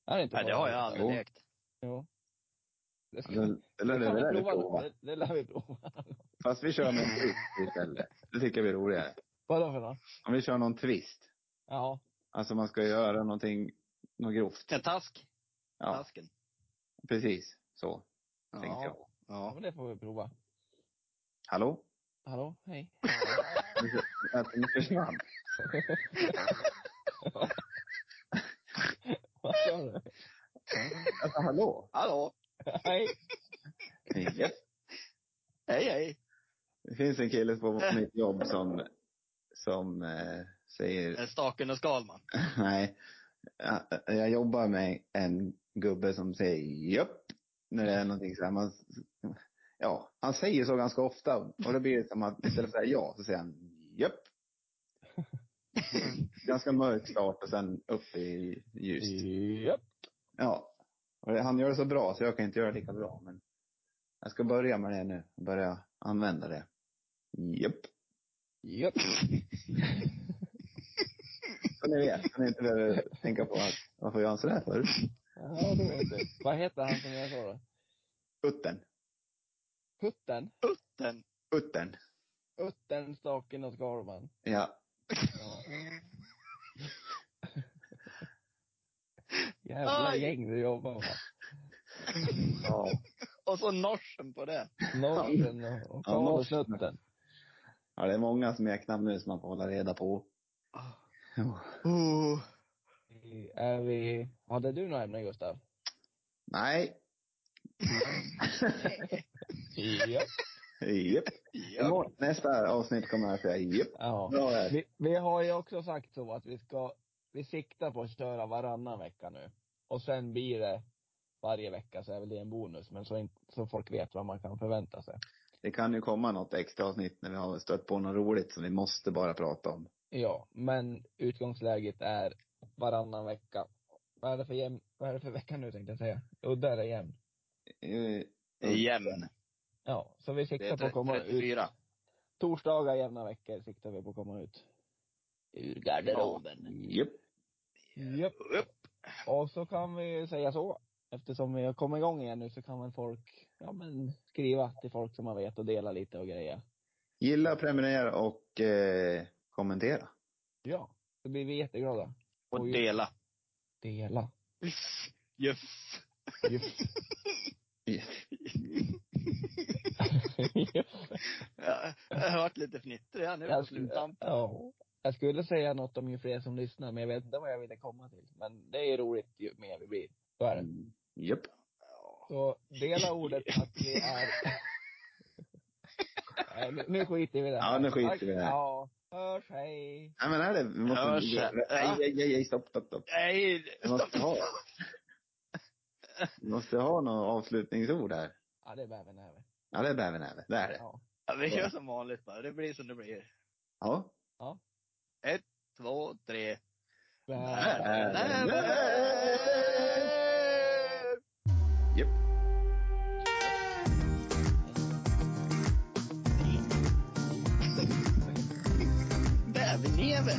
Speaker 1: Är det inte
Speaker 3: Nej,
Speaker 1: så?
Speaker 3: det har jag aldrig
Speaker 2: Jo.
Speaker 3: lekt.
Speaker 1: Jo. Det ska
Speaker 2: Eller eller det
Speaker 1: kan vi
Speaker 2: lär vi
Speaker 1: prova.
Speaker 2: prova.
Speaker 1: Det, det lär vi prova. *laughs*
Speaker 2: Fast vi kör någon twist istället. Det tycker jag blir roligare.
Speaker 1: Vadå för något?
Speaker 2: Om vi kör någon twist.
Speaker 1: Ja.
Speaker 2: Alltså man ska göra någonting, något grovt.
Speaker 3: En task.
Speaker 2: Ja,
Speaker 3: Tasken.
Speaker 2: precis. Så, tänkte
Speaker 3: Ja.
Speaker 2: jag.
Speaker 1: ja,
Speaker 3: ja.
Speaker 1: men det får vi prova.
Speaker 2: Hallå?
Speaker 1: Hallå, hej.
Speaker 2: Att den försvann.
Speaker 1: *laughs* Vad sa du?
Speaker 2: Alltså hallå?
Speaker 3: Hallå!
Speaker 1: Hej.
Speaker 2: Inget.
Speaker 3: Hej, hej!
Speaker 2: Det finns en kille på mitt jobb som, som eh, säger
Speaker 3: En Staken och Skalman.
Speaker 2: *laughs* Nej. Jag, jag jobbar med en gubbe som säger japp när det är någonting så här. Man, ja, han säger så ganska ofta och då blir det som att istället för att säga ja så säger han japp. ganska mörk start och sen upp i ljust.
Speaker 1: Japp.
Speaker 2: Ja. Och det, han gör det så bra så jag kan inte göra det lika bra men jag ska börja med det nu. Börja använda det. Japp.
Speaker 1: Japp.
Speaker 2: Så ni vet, så ni inte behöver tänka på att varför gör han sådär för?
Speaker 1: Ja, det vet du. Vad heter han som jag sa då?
Speaker 2: Utten.
Speaker 1: Hutten?
Speaker 3: Den.
Speaker 2: Utten.
Speaker 1: Utten, Staken och Skalman.
Speaker 2: Ja.
Speaker 1: Ja. Jävla
Speaker 3: Aj.
Speaker 1: gäng du jobbar med.
Speaker 2: Ja.
Speaker 3: Och så norsen på det.
Speaker 1: Norsen och- och
Speaker 2: Ja,
Speaker 1: Karlsnutten.
Speaker 2: Ja, det är många smeknamn nu som man får hålla reda på.
Speaker 1: Ah.
Speaker 2: Jo.
Speaker 3: Oh.
Speaker 1: Är vi... Hade du några ämnen, Gustav?
Speaker 2: Nej.
Speaker 1: Japp.
Speaker 2: Japp.
Speaker 3: Ja.
Speaker 2: Imorgon, nästa avsnitt kommer jag säga japp.
Speaker 1: Ja.
Speaker 2: Bra där.
Speaker 1: Vi, vi har ju också sagt så att vi ska, vi siktar på att köra varannan vecka nu. Och sen blir det varje vecka så är väl det en bonus, men så, in, så folk vet vad man kan förvänta sig.
Speaker 2: Det kan ju komma något extra avsnitt när vi har stött på något roligt som vi måste bara prata om.
Speaker 1: Ja, men utgångsläget är varannan vecka. Vad är det för jämn, vad är det för vecka nu tänkte jag säga? Och där är jämn.
Speaker 2: Eh,
Speaker 3: Jämn.
Speaker 1: Ja, så vi
Speaker 3: Det är
Speaker 1: siktar på att komma ut.
Speaker 3: 34.
Speaker 1: Torsdagar jämna veckor siktar vi på att komma ut. Ur garderoben.
Speaker 2: Japp.
Speaker 1: Japp.
Speaker 3: Upp.
Speaker 1: Och så kan vi ju säga så. Eftersom vi har kommit igång igen nu så kan väl folk, ja men skriva till folk som man vet och dela lite och grejer.
Speaker 2: Gilla, prenumerera och eh, kommentera.
Speaker 1: Ja. Då blir vi jätteglada.
Speaker 3: Och
Speaker 1: Oj.
Speaker 3: dela.
Speaker 1: Dela.
Speaker 3: Yes.
Speaker 2: *laughs*
Speaker 3: Jag har hört lite fnitter redan nu på
Speaker 1: jag, skulle,
Speaker 3: sluttampen.
Speaker 1: ja. jag skulle säga något om ju fler som lyssnar men jag vet inte vad jag ville komma till. Men det är roligt ju mer vi blir. Så är det.
Speaker 2: Mm. Japp.
Speaker 1: Så dela ordet att vi är...
Speaker 2: *laughs*
Speaker 1: Nej, nu- nu skiter vi i det. här.
Speaker 2: Ja, nu skiter vi i det här.
Speaker 1: Ja. Hörs, hej.
Speaker 2: Nej men är det, vi måste...
Speaker 3: Hörs.
Speaker 2: Nej, nej, nej, nej, stopp, stopp, stopp.
Speaker 3: Nej,
Speaker 2: Vi måste ha. Vi måste ha några avslutningsord här.
Speaker 1: Ja, det är bävern över.
Speaker 2: Ja, det är bävernäve. Det är det.
Speaker 1: Ja.
Speaker 3: Ja, vi gör som vanligt bara. Det blir som det blir.
Speaker 2: Ja.
Speaker 3: Två, tre.
Speaker 2: Japp.
Speaker 3: Bäverneve.